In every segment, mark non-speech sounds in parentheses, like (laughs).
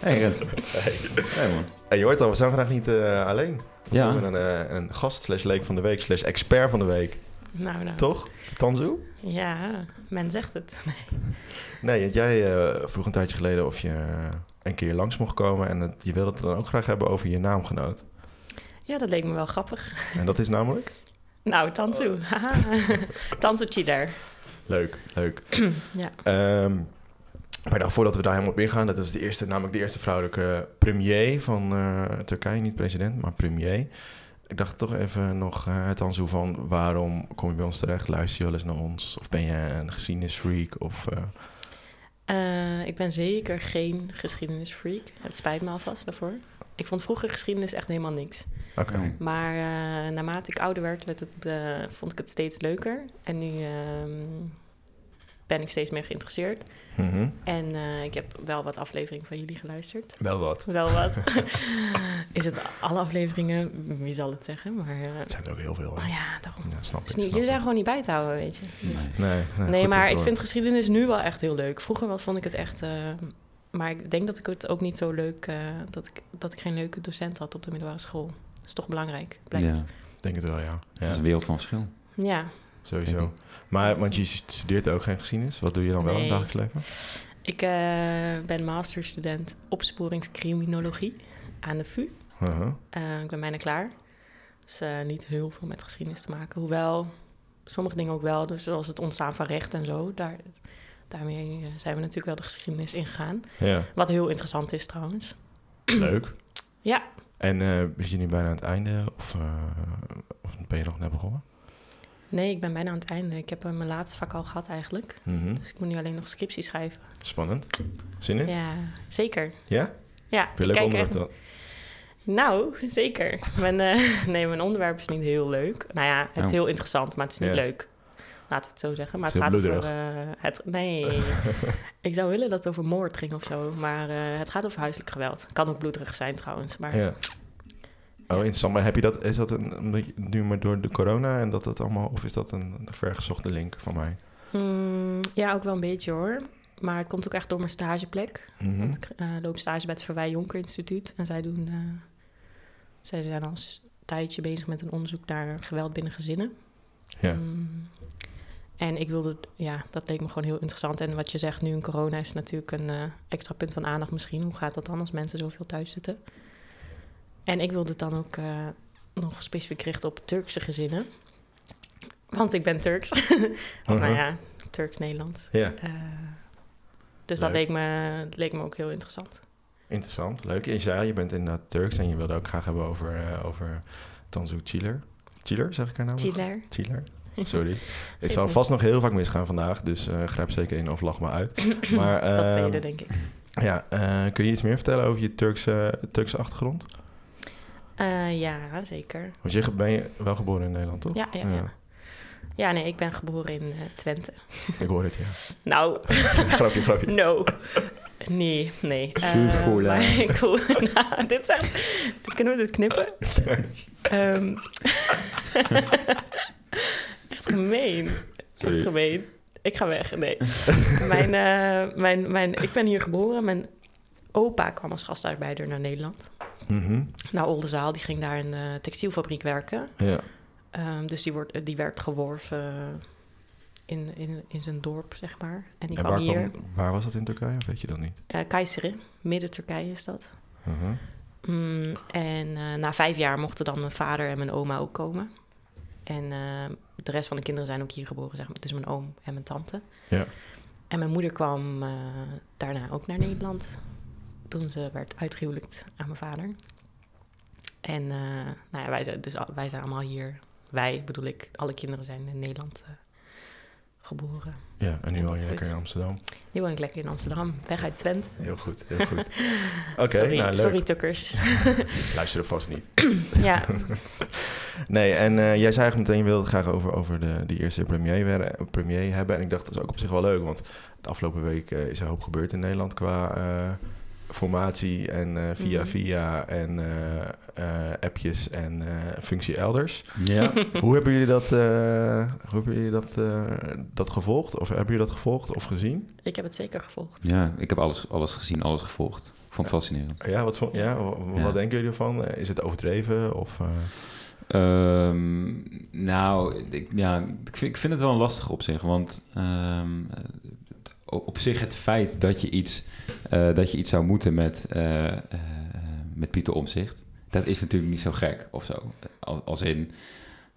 Hey Rens. Hey man. Hey, je hoort al, we zijn vandaag niet eh, alleen. We Ja. hebben een, eh, een gast slash leek van de week slash expert van de week. Nou, nou. Toch? Tanzu? Ja, men zegt het. Nee, want jij eh, vroeg een tijdje geleden of je eh, een keer langs mocht komen. En het- je wilde het dan ook graag hebben over je naamgenoot. Ja, dat leek me wel grappig. En dat is namelijk? Nou, Tansu. Haha. (laughs) Tansu Chidar. Leuk, leuk. (clears throat) Ja. Ehm, maar dan voordat we daar helemaal op ingaan, dat is de eerste, namelijk de eerste vrouwelijke premier van eh, Turkije. Niet president, maar premier. Ik dacht toch even nog eh, het aanzoek van waarom kom je bij ons terecht? Luister je wel eens naar ons? Of ben je een geschiedenisfreak? Of, eh, Eh, ik ben zeker geen geschiedenisfreak. Het spijt me alvast daarvoor. Ik vond vroeger geschiedenis echt helemaal niks. Oké. Ja. Maar eh, naarmate ik ouder werd, werd het, eh, vond ik het steeds leuker. En nu ehm, ben ik steeds meer geïnteresseerd. Mhm. En eh, ik heb wel wat afleveringen van jullie geluisterd. Wel wat. Wel wat. (laughs) Is het alle afleveringen? Wie zal het zeggen? Maar eh, Het zijn er ook heel veel. hè? nou ja, daarom. Ja, snap ik. Is niet- snap jullie zijn ik. gewoon niet bij te houden, weet je. Dus- Nee. Nee, nee, nee, goed om maar te ik vind horen. geschiedenis nu wel echt heel leuk. Vroeger wel vond ik het echt... eh, maar ik denk dat ik het ook niet zo leuk... eh, dat, ik, dat ik geen leuke docent had op de middelbare school. Dat is toch belangrijk, blijkt. Ja, Ja. Ik denk het wel, ja. dat ja is een wereld van verschil. Denk sowieso. Maar, want je studeert ook geen geschiedenis. Wat doe je dan wel in het Nee. dagelijks leven? Ik eh, ben masterstudent opsporingscriminologie aan de VU. Mhm. Eh, ik ben bijna klaar. Dus eh, niet heel veel met geschiedenis te maken. Hoewel, sommige dingen ook wel. Dus zoals het ontstaan van recht en zo. Daar, daarmee eh, zijn we natuurlijk wel de geschiedenis ingegaan. Ja, Wat heel interessant is trouwens. leuk. Ja, En eh ben je nu bijna aan het einde of, eh, of ben je nog net begonnen? nee, ik ben bijna aan het einde. Ik heb eh, mijn laatste vak al gehad eigenlijk. Dus ik moet nu alleen nog scriptie schrijven. Spannend. Zin in? Ja? Ja, zeker. Ja, Heb je een ik leuk kijk onderwerp? echt- dan? Nou, zeker. Mijn, eh, (laughs) nee, mijn onderwerp is niet heel leuk. Nou ja, het Oh. is heel interessant, maar het is niet Ja. leuk. Laten we het zo zeggen. Maar Het het, is gaat heel over... eh, het, (laughs) nee, ik zou willen dat het over moord ging of zo. Maar eh, het gaat over huiselijk geweld. Kan ook bloederig zijn trouwens. Maar Ja. Oh, interessant. Maar heb je dat, is dat een, omdat je- nu maar door de corona en dat dat allemaal, of is dat een, een vergezochte link van mij? Hmm, ja, ook wel een beetje hoor. Maar het komt ook echt door mijn stageplek. Mhm. Ik eh, loop stage bij het Verwij Jonker Instituut. En zij doen... eh, zij zijn al een tijdje bezig met een onderzoek naar geweld binnen gezinnen. Ja. Mm. En ik wilde, ja, dat leek me gewoon heel interessant. En wat je zegt nu in corona is natuurlijk een eh, extra punt van aandacht misschien. Hoe gaat dat dan als mensen zoveel thuis zitten? En ik wilde het dan ook eh, nog specifiek richten op Turkse gezinnen. Want ik ben Turks. (laughs) Of nou Mhm. ja, Turks-Nederlands. Ja, Eh, dus dat Leuk. leek me, leek me ook heel interessant. interessant. Leuk. Je zei, al, je bent inderdaad Turks en je wilde ook graag hebben over, eh, over Tanzu Chiler. Chiler, zeg ik haar naam? nog? Chiler. Tieler. (laughs) Sorry. Het Geeft zal niet. vast nog heel vaak misgaan vandaag, dus eh grijp zeker in of lach maar uit. (laughs) Maar, (laughs) dat ehm, tweede, denk ik. Ja, eh, kun je iets meer vertellen over je Turkse, Turkse achtergrond? Eh, ja, zeker. Want je ge- ben je wel geboren in Nederland, toch? Ja, ja, ja. (laughs) Ja, nee, ik ben geboren in eh, Twente. Ik hoor het, ja. (laughs) Nou, grapje, grapje. No. Nee, nee. Eh, Vuurgoed, maar (laughs) hè? ik hoor- nou, dit zijn... Kunnen we dit (laughs) knippen? Ehm, (laughs) echt gemeen. Sorry. Echt gemeen. Ik ga weg, nee. mijn, eh, mijn, mijn, ik ben hier geboren. Mijn opa kwam als gastarbeider naar Nederland. Mhm. Naar Oldenzaal. Die ging daar in de textielfabriek werken. Ja. Ehm, dus die, wordt, die werd geworven in, in, in zijn dorp, zeg maar. En die En kwam waar, hier. kwam- waar was dat in Turkije, of weet je dat niet? eh Kayseri, midden Turkije is dat. Mhm. Mm, en eh, na vijf jaar mochten dan mijn vader en mijn oma ook komen. En eh, de rest van de kinderen zijn ook hier geboren, zeg maar. Dus mijn oom en mijn tante. Ja. En mijn moeder kwam eh, daarna ook naar Nederland. Toen ze werd uitgehuwelijkd aan mijn vader. En eh, nou ja, wij, zijn dus, al- wij zijn allemaal hier. Wij bedoel ik, alle kinderen zijn in Nederland eh, geboren. Ja, en nu Ja, woon je goed. lekker in Amsterdam. Nu woon ik lekker in Amsterdam, weg uit Twente. Heel goed, heel (laughs) goed. Oké, sorry, nou leuk. sorry Tukkers. (laughs) Luister vast niet. ja, Nee, en eh, jij zei eigenlijk meteen, je wilde het graag over, over de, die eerste premier, werden- premier hebben. En ik dacht, dat is ook op zich wel leuk, want de afgelopen week eh, is er hoop gebeurd in Nederland qua eh, formatie en eh, via Mhm. via en eh, eh, appjes en eh, functie (laughs) elders. Ja. hoe hebben jullie dat, eh, hoe hebben jullie dat, eh, dat gevolgd? Of hebben jullie dat gevolgd of gezien? ik heb het zeker gevolgd. ja, ik heb alles, alles gezien, alles gevolgd. vond het fascinerend. Ja, wat, vond, ja, wat, Ja. wat denken jullie ervan? Eh, Is het overdreven? Of, eh, Ehm, nou, ik, ja, ik, vind, ik vind het wel een lastig op zich. Want ehm, op op zich het feit dat je iets, eh, dat je iets zou moeten met, eh, eh, met Pieter Omzicht, dat is natuurlijk niet zo gek of zo. Als, als in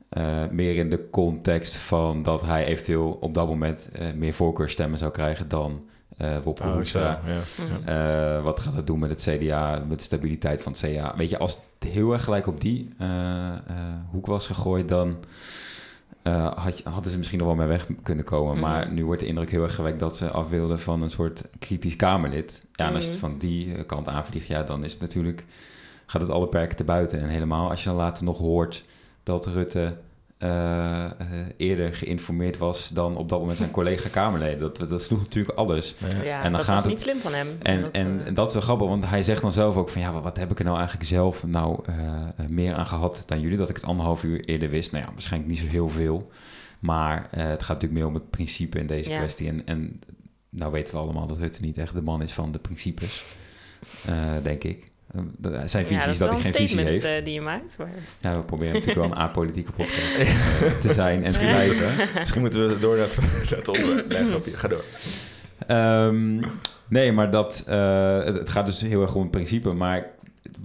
eh, meer in de context van dat hij eventueel op dat moment eh, meer voorkeurstemmen zou krijgen dan eh Wopke Oh, zo, Hoekstra. ja. Mhm. Eh, wat gaat dat doen met het CDA, met de stabiliteit van het CDA? Weet je, als het heel erg gelijk op die eh, eh, hoek was gegooid, dan eh, had, je- hadden ze misschien nog wel mee weg kunnen komen. Mhm. Maar nu wordt de indruk heel erg gewekt dat ze af wilden van een soort kritisch Kamerlid. Ja, en als je het Mhm. van die eh, kant aanvliegt, ja, dan is het natuurlijk, gaat het alle perken te buiten. En helemaal als je dan later nog hoort dat Rutte eh, eh, eerder geïnformeerd was dan op dat moment (laughs) zijn collega Kamerleden. Dat, dat sloeg natuurlijk alles. Ja. Ja, dan dat gaat was het- niet slim van hem. En, Dat, en, eh, en dat is wel grappig, want hij zegt dan zelf ook van... ja, wat heb ik er nou eigenlijk zelf nou eh, eh, meer aan gehad dan jullie... dat ik het anderhalf uur eerder wist. Nou ja, waarschijnlijk niet zo heel veel. Maar eh, het gaat natuurlijk meer om het principe in deze Ja. kwestie. En, en nou weten we allemaal dat Rutte niet echt de man is van de principes, eh, denk ik. Eh, dat- Zijn visie ja, is dat hij wel geen visie een statement heeft. eh, die je maakt. Maar... Ja, we proberen natuurlijk (laughs) wel een apolitieke podcast eh, (laughs) te zijn en te Ja. blijven. Misschien moeten we (laughs) door naar het, naar het (clears throat) onderwerp. Nee, grapje. Ga door. Ehm, nee, maar dat, eh, het, het gaat dus heel erg om het principe. Maar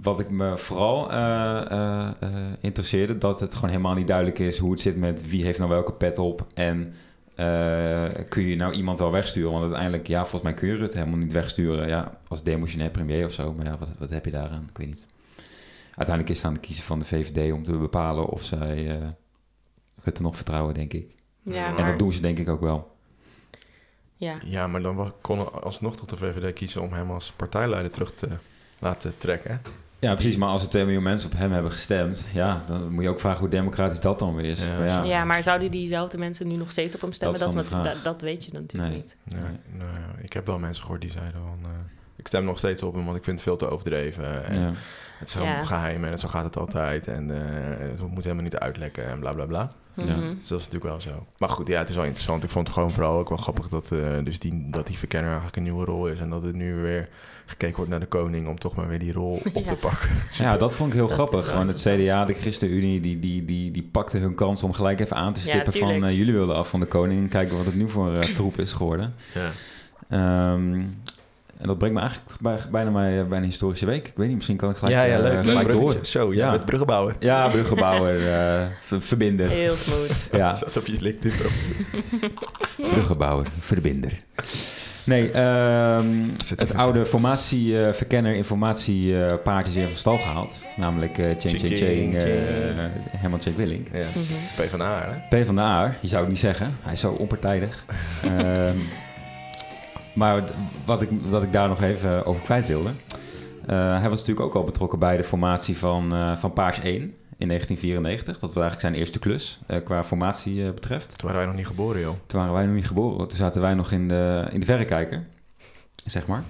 wat ik me vooral eh, eh, eh, interesseerde, dat het gewoon helemaal niet duidelijk is hoe het zit met wie heeft nou welke pet op. En eh, kun je nou iemand wel wegsturen? Want uiteindelijk, ja, volgens mij kun je het helemaal niet wegsturen. Ja, als demissionair premier of zo. Maar ja, wat, wat heb je daaraan? Ik weet niet. Uiteindelijk is het aan de kiezer van de VVD om te bepalen of zij eh Rutte nog vertrouwen, denk ik. Ja, En En maar... dat doen ze denk ik ook wel. ja. Ja, maar dan wa- kon alsnog toch de VVD kiezen om hem als partijleider terug te laten trekken. hè? Ja, precies. Maar als er 2 miljoen mensen op hem hebben gestemd, ja, dan moet je ook vragen hoe democratisch dat dan weer is. Ja, Maar ja, Ja. maar zouden diezelfda mensen nu nog steeds op hem stemmen? Dat Dat, is is dan de natuurlijk- dat, dat weet je dan natuurlijk Nee. niet. Ja, Nee. nou ja, ik heb wel mensen gehoord die zeiden van... eh, ik stem nog steeds op hem, want ik vind het veel te overdreven. En ja. Het is zo Ja. geheim en zo gaat het altijd. En eh, het moet helemaal niet uitlekken en bla bla bla. Ja. Mhm. Dus dat is natuurlijk wel zo. Maar goed, ja, het is wel interessant. Ik vond het gewoon vooral ook wel grappig dat, eh, dus die, dat die verkenner eigenlijk een nieuwe rol is. En dat het nu weer gekeken wordt naar de koning om toch maar weer die rol op te Ja. pakken. Ja, dat vond ik heel Dat is grappig. wel Gewoon het CDA, de ChristenUnie, die, die, die, die pakte hun kans om gelijk even aan te Ja, stippen van tuurlijk. eh, jullie wilden af van de koning en kijken wat het nu voor eh, troep is geworden. Ja. Ehm, en dat brengt me eigenlijk bij, bijna bij, eh, bij een historische week. Ik weet niet, misschien kan ik gelijk, ja, ja, eh, leuk. leuk gelijk door. bruggetje. Zo, ja, Ja. met (laughs) bruggenbouwen. Ja, bruggenbouwer, eh, ver- verbinden. Heel smooth. Ja. (laughs) Zat op je LinkedIn profiel. Bruggenbouwer, verbinder. Nee, ehm, Zit er het een- oude formatieverkenner informatiepaardje informatie, is weer van stal gehaald. Namelijk eh Ching Ching Ching, Ching, eh, ching. Herman Ching Willink. Ja. Mhm. PvdA, hè? P van de A, je zou het niet zeggen. Hij is zo (laughs) onpartijdig. Ehm, maar d- wat ik, wat ik daar nog even over kwijt wilde. eh, hij was natuurlijk ook al betrokken bij de formatie van, eh, van Paars 1 in 1994. Dat was eigenlijk zijn eerste klus eh, qua formatie eh, betreft. Toen waren wij nog niet geboren, joh. Toen waren wij nog niet geboren. Toen zaten wij nog in de, in de verrekijker. Zeg maar.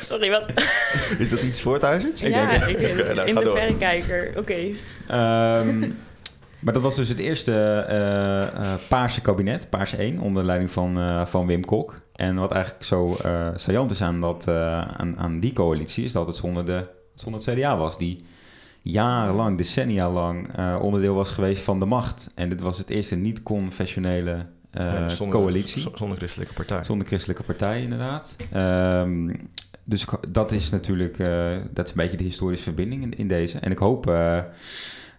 Sorry, wat? Is dat iets voor thuis? ja, (laughs) ik, (laughs) nou, nou, in ga de door. verrekijker. Oké. Ehm, maar dat was dus het eerste eh, eh, paarse kabinet, paars 1, onder leiding van, eh, van Wim Kok. En wat eigenlijk zo eh saillant is aan, dat, eh, aan, aan die coalitie, is dat het zonder, de, zonder het CDA was. Die jarenlang, decennia lang eh, onderdeel was geweest van de macht. En dit was het eerste niet-confessionele eh, Ja, zonder- coalitie. z- Zonder christelijke partij. Zonder christelijke partij, inderdaad. Ehm, dus ik ho- dat is natuurlijk eh, dat is een beetje de historische verbinding in, in deze. En ik hoop eh,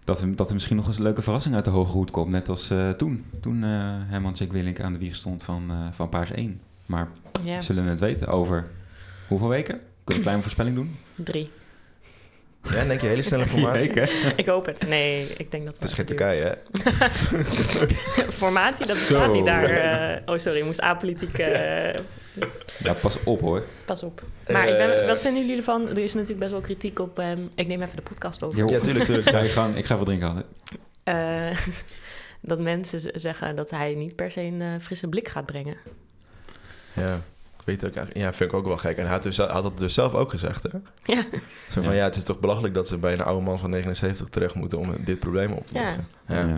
dat, er, dat er misschien nog eens een leuke verrassing uit de hoge hoed komt. Net als eh, toen. Toen eh Herman Jack Willink aan de wieg stond van, eh, van Paars 1. Maar Ja, zullen we het weten over hoeveel weken? Kunnen we een kleine voorspelling doen? drie. (laughs) Ja, denk je, hele snelle Vier formatie. weken. Ik hoop het. Nee, ik denk dat Het is geen wel Turkije, hè? duurt. (laughs) Formatie, dat bestaat Zo. niet daar. eh, oh, sorry, ik moest apolitiek... eh, Ja, pas op hoor. pas op. Maar ik Eh. ben, wat vinden jullie ervan? Er is natuurlijk best wel kritiek op... ehm, ik neem even de podcast over. Jo. Ja, tuurlijk, (laughs) tuurlijk. Ga je gang, ik ga even drinken. Anne. Eh, (laughs) dat mensen z- zeggen dat hij niet per se een eh, frisse blik gaat brengen. (laughs) Ja, ik weet ook eigenlijk. Ja, vind ik ook wel gek. En hij had, dus, had dat dus zelf ook gezegd, hè? Ja, Zo van, Ja. ja. het is toch belachelijk dat ze bij een oude man van 79 terecht moeten om dit probleem op te Ja. lossen. Ja. Ja.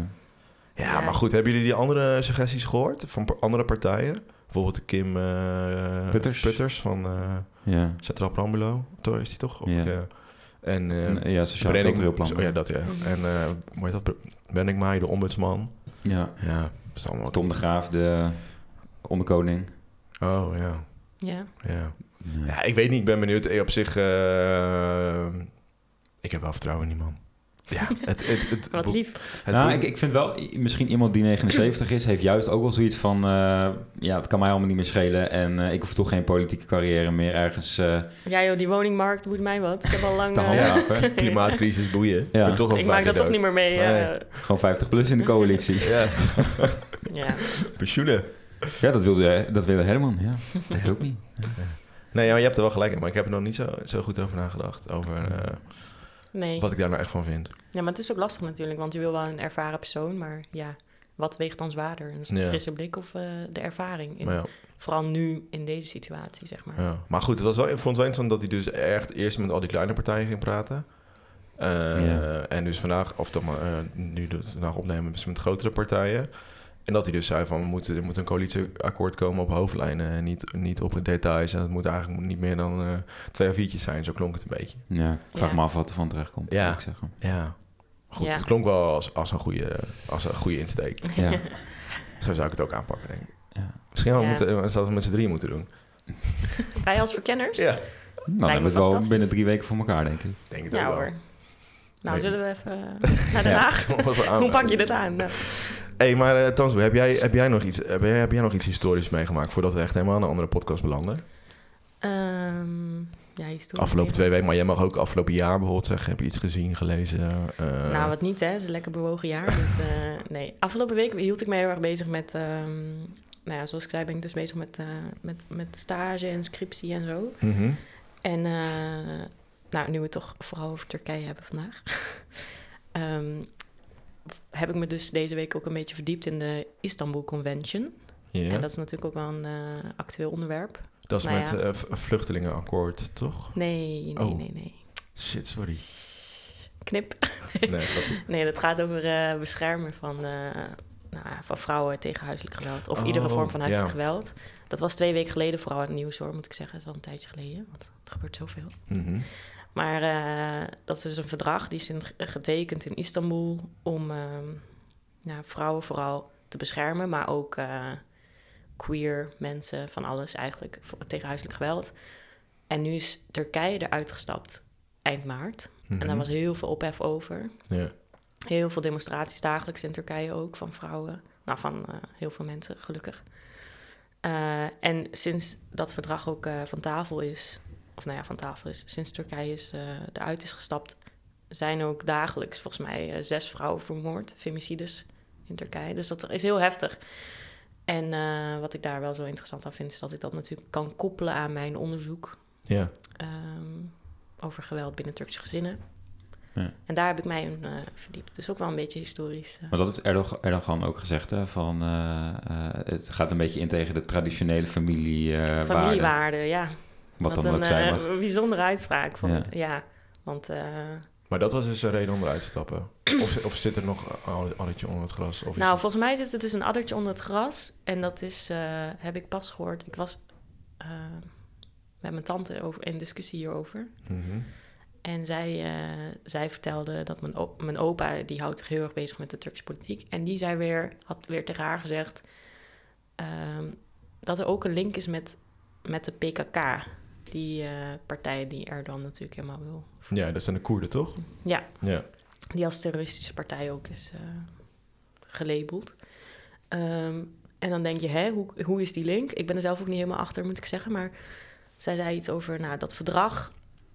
Ja. maar goed, hebben jullie die andere suggesties gehoord van pa- andere partijen? Bijvoorbeeld de Kim eh, Putters. van eh, Ja. Centraal Planbureau, toch is die toch? Ook, Ja. ja. En eh, En, ja, sociaal Brenning- cultureel plan. zo- ja, dat ja. Mhm. En eh hoe heet dat? Ben ik maar de ombudsman. Ja. Ja, dat is allemaal... Tom de Graaf, de onderkoning. Oh, ja. Ja. Ja. Ja. ja, ik weet niet. Ik ben benieuwd. Eh, Op zich... eh, ik heb wel vertrouwen in die man. (laughs) Ja, het... het, het Wat boek- lief. het nou, boek- ik, ik vind wel, i- misschien iemand die 79 is, heeft juist ook wel zoiets van... eh, ja, het kan mij allemaal niet meer schelen en eh, ik hoef toch geen politieke carrière meer ergens... eh, Ja joh, die woningmarkt moet mij wat. Ik heb al (laughs) lang... De eh, hand- Ja, (laughs) Ja. klimaatcrisis, boeien. Ja. Ik ben toch al ik maak dat toch niet meer mee. eh, Nee. gewoon 50 plus in de coalitie. (laughs) Ja, ja. pensioenen. ja, dat wilde, dat wilde Herman, ja. Dat ook niet. Nee, ja, maar je hebt er wel gelijk in. Maar ik heb er nog niet zo, zo goed over nagedacht. Over eh, nee. wat ik daar nou echt van vind. Ja, maar het is ook lastig natuurlijk, want je wil wel een ervaren persoon, maar ja, wat weegt dan zwaarder? Een Ja. frisse blik of eh, de ervaring? In, Maar, ja, Vooral nu in deze situatie, zeg maar. ja. maar goed, het was wel, ik vond het wel interessant dat hij dus echt eerst met al die kleine partijen ging praten. Eh, Ja. En dus vandaag, of dan, eh, nu dat we vandaag opnemen, hebben ze met grotere partijen. En dat hij dus zei van, we moeten, er moet een coalitieakkoord komen op hoofdlijnen en niet, niet op details. En het moet eigenlijk niet meer dan eh, twee of viertjes zijn, zo klonk het een beetje. Ja, ik vraag Ja. me af wat er van terecht komt, Ja. moet ik (laughs) zeggen. Ja. Goed, Ja. het klonk wel als, als, een goede, als een goede (laughs) insteek. Ja. Nou, Zo zou ik het ook aanpakken, denk ik. Ja. Misschien hadden we Ja. moeten, eh, zouden we met z'n drieën moeten doen. Wij als verkenners? Ja. Nou, dan me hebben we het wel fantastisch. binnen drie weken voor elkaar, denk ik. Denk het Ja ook wel. hoor. Nou, Nee. Oh, zullen we even (laughs) eh, naar Den Ja. Haag? Dat was wel aan- Hoe pak je dit aan? Nou, hey, maar eh Tansbo, heb jij, heb, jij nog iets, heb, jij, heb jij nog iets historisch meegemaakt... voordat we echt helemaal aan een andere podcast belanden? ehm, ja, historisch afgelopen even. twee weken, maar jij mag ook afgelopen jaar bijvoorbeeld zeggen... heb je iets gezien, gelezen? eh, Nou, wat niet hè. Het is een lekker bewogen jaar. Dus (laughs) eh, nee. Afgelopen week hield ik me heel erg bezig met... ehm, nou ja, zoals ik zei ben ik dus bezig met, eh, met, met stage en scriptie en zo. mhm. En eh, nou, nu we het toch vooral over Turkije hebben vandaag, (laughs) ehm, heb ik me dus deze week ook een beetje verdiept in de Istanbul Convention. Ja, En dat, dat is natuurlijk ook wel een eh, actueel onderwerp. is nou met ja. eh, v- vluchtelingenakkoord, toch? Nee, nee, Oh. nee, nee. Shit, (laughs) sorry. Knip. (laughs) Nee, grapje. Nee, dat gaat over eh, beschermen van, eh, nou, van vrouwen tegen huiselijk geweld. Of Oh, iedere vorm van huiselijk ja. geweld. Dat was twee weken geleden vooral in het nieuws hoor, moet ik zeggen. Dat is al een tijdje geleden, want er gebeurt zoveel. Mhm. Maar eh, dat is dus een verdrag die is in- getekend in Istanbul om ehm, ja, vrouwen vooral te beschermen, maar ook eh, queer mensen van alles eigenlijk vo- tegen huiselijk geweld. En nu is Turkije eruit gestapt eind maart. En daar Mhm. was heel veel ophef over. Ja. Heel veel demonstraties dagelijks in Turkije ook van vrouwen. Nou, van eh, heel veel mensen, gelukkig. Eh, en sinds dat verdrag ook eh, van tafel is, of nou ja, van tafel is, sinds Turkije is, eh, eruit is gestapt, zijn ook dagelijks volgens mij eh, zes vrouwen vermoord, femicides in Turkije. Dus dat is heel heftig. En eh, wat ik daar wel zo interessant aan vind, is dat ik dat natuurlijk kan koppelen aan mijn onderzoek ja. ehm, over geweld binnen Turkse gezinnen. Ja. En daar heb ik mij in eh, verdiept. Dus ook wel een beetje historisch. eh. Maar dat heeft Erdo- Erdogan ook gezegd, hè, van eh, eh, het gaat een beetje in tegen de traditionele familie, eh waarden, Familiewaarde, ja. wat Wat dan een ook zijn eh, mag. bijzondere uitspraak. Vond. Ja. ik. Ja, want eh, Maar dat was dus een reden om eruit te stappen. (clears throat) Of, of zit er nog een addertje onder het gras? Of is Nou, het- volgens mij zit er dus een addertje onder het gras. En dat is, eh, heb ik pas gehoord. Ik was eh, met mijn tante over, in discussie hierover. Mhm. En zij, eh, zij vertelde dat mijn, o- mijn opa, die houdt zich heel erg bezig met de Turkse politiek. En die zei weer, had weer tegen haar gezegd ehm, dat er ook een link is met, met de PKK. Die eh, partij die Erdogan natuurlijk helemaal wil. Ja, dat zijn de Koerden, toch? Ja. Ja. Die als terroristische partij ook is eh, gelabeld. Ehm, en dan denk je, hè, hoe, hoe is die link? Ik ben er zelf ook niet helemaal achter, moet ik zeggen. Maar zij zei iets over, nou, dat verdrag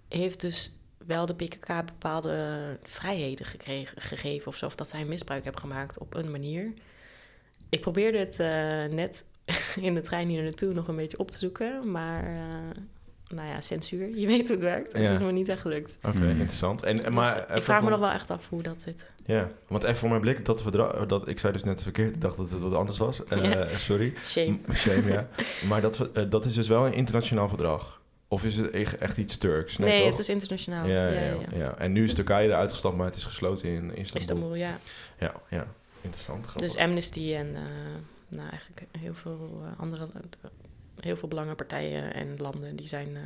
heeft dus wel de PKK bepaalde vrijheden gekregen, gegeven of zo. Of dat zij misbruik hebben gemaakt op een manier. Ik probeerde het eh, net (laughs) in de trein hier naartoe nog een beetje op te zoeken. Maar, eh, nou ja, censuur. Je weet hoe het werkt. Ja. Het is me niet echt gelukt. Oké, Hmm. interessant. En, en Dus maar eh, even ik vraag me voor- nog wel echt af hoe dat zit. Ja, want even voor mijn blik, dat verdrag... Dat, ik zei dus net verkeerd, ik dacht dat het wat anders was. Eh, Sorry. Shame. M- Shame, (laughs) ja. Maar dat, ver- eh, dat is dus wel een internationaal verdrag. Of is het e- echt iets Turks? Nee, toch? het is internationaal. Ja, ja, ja, ja. En nu is Turkije eruit gestapt, maar het is gesloten in Istanbul. Istanbul, ja. Ja, ja. Interessant, grappig. Dus Amnesty en eh, nou, eigenlijk heel veel eh, andere heel veel belangenpartijen en landen die zijn eh,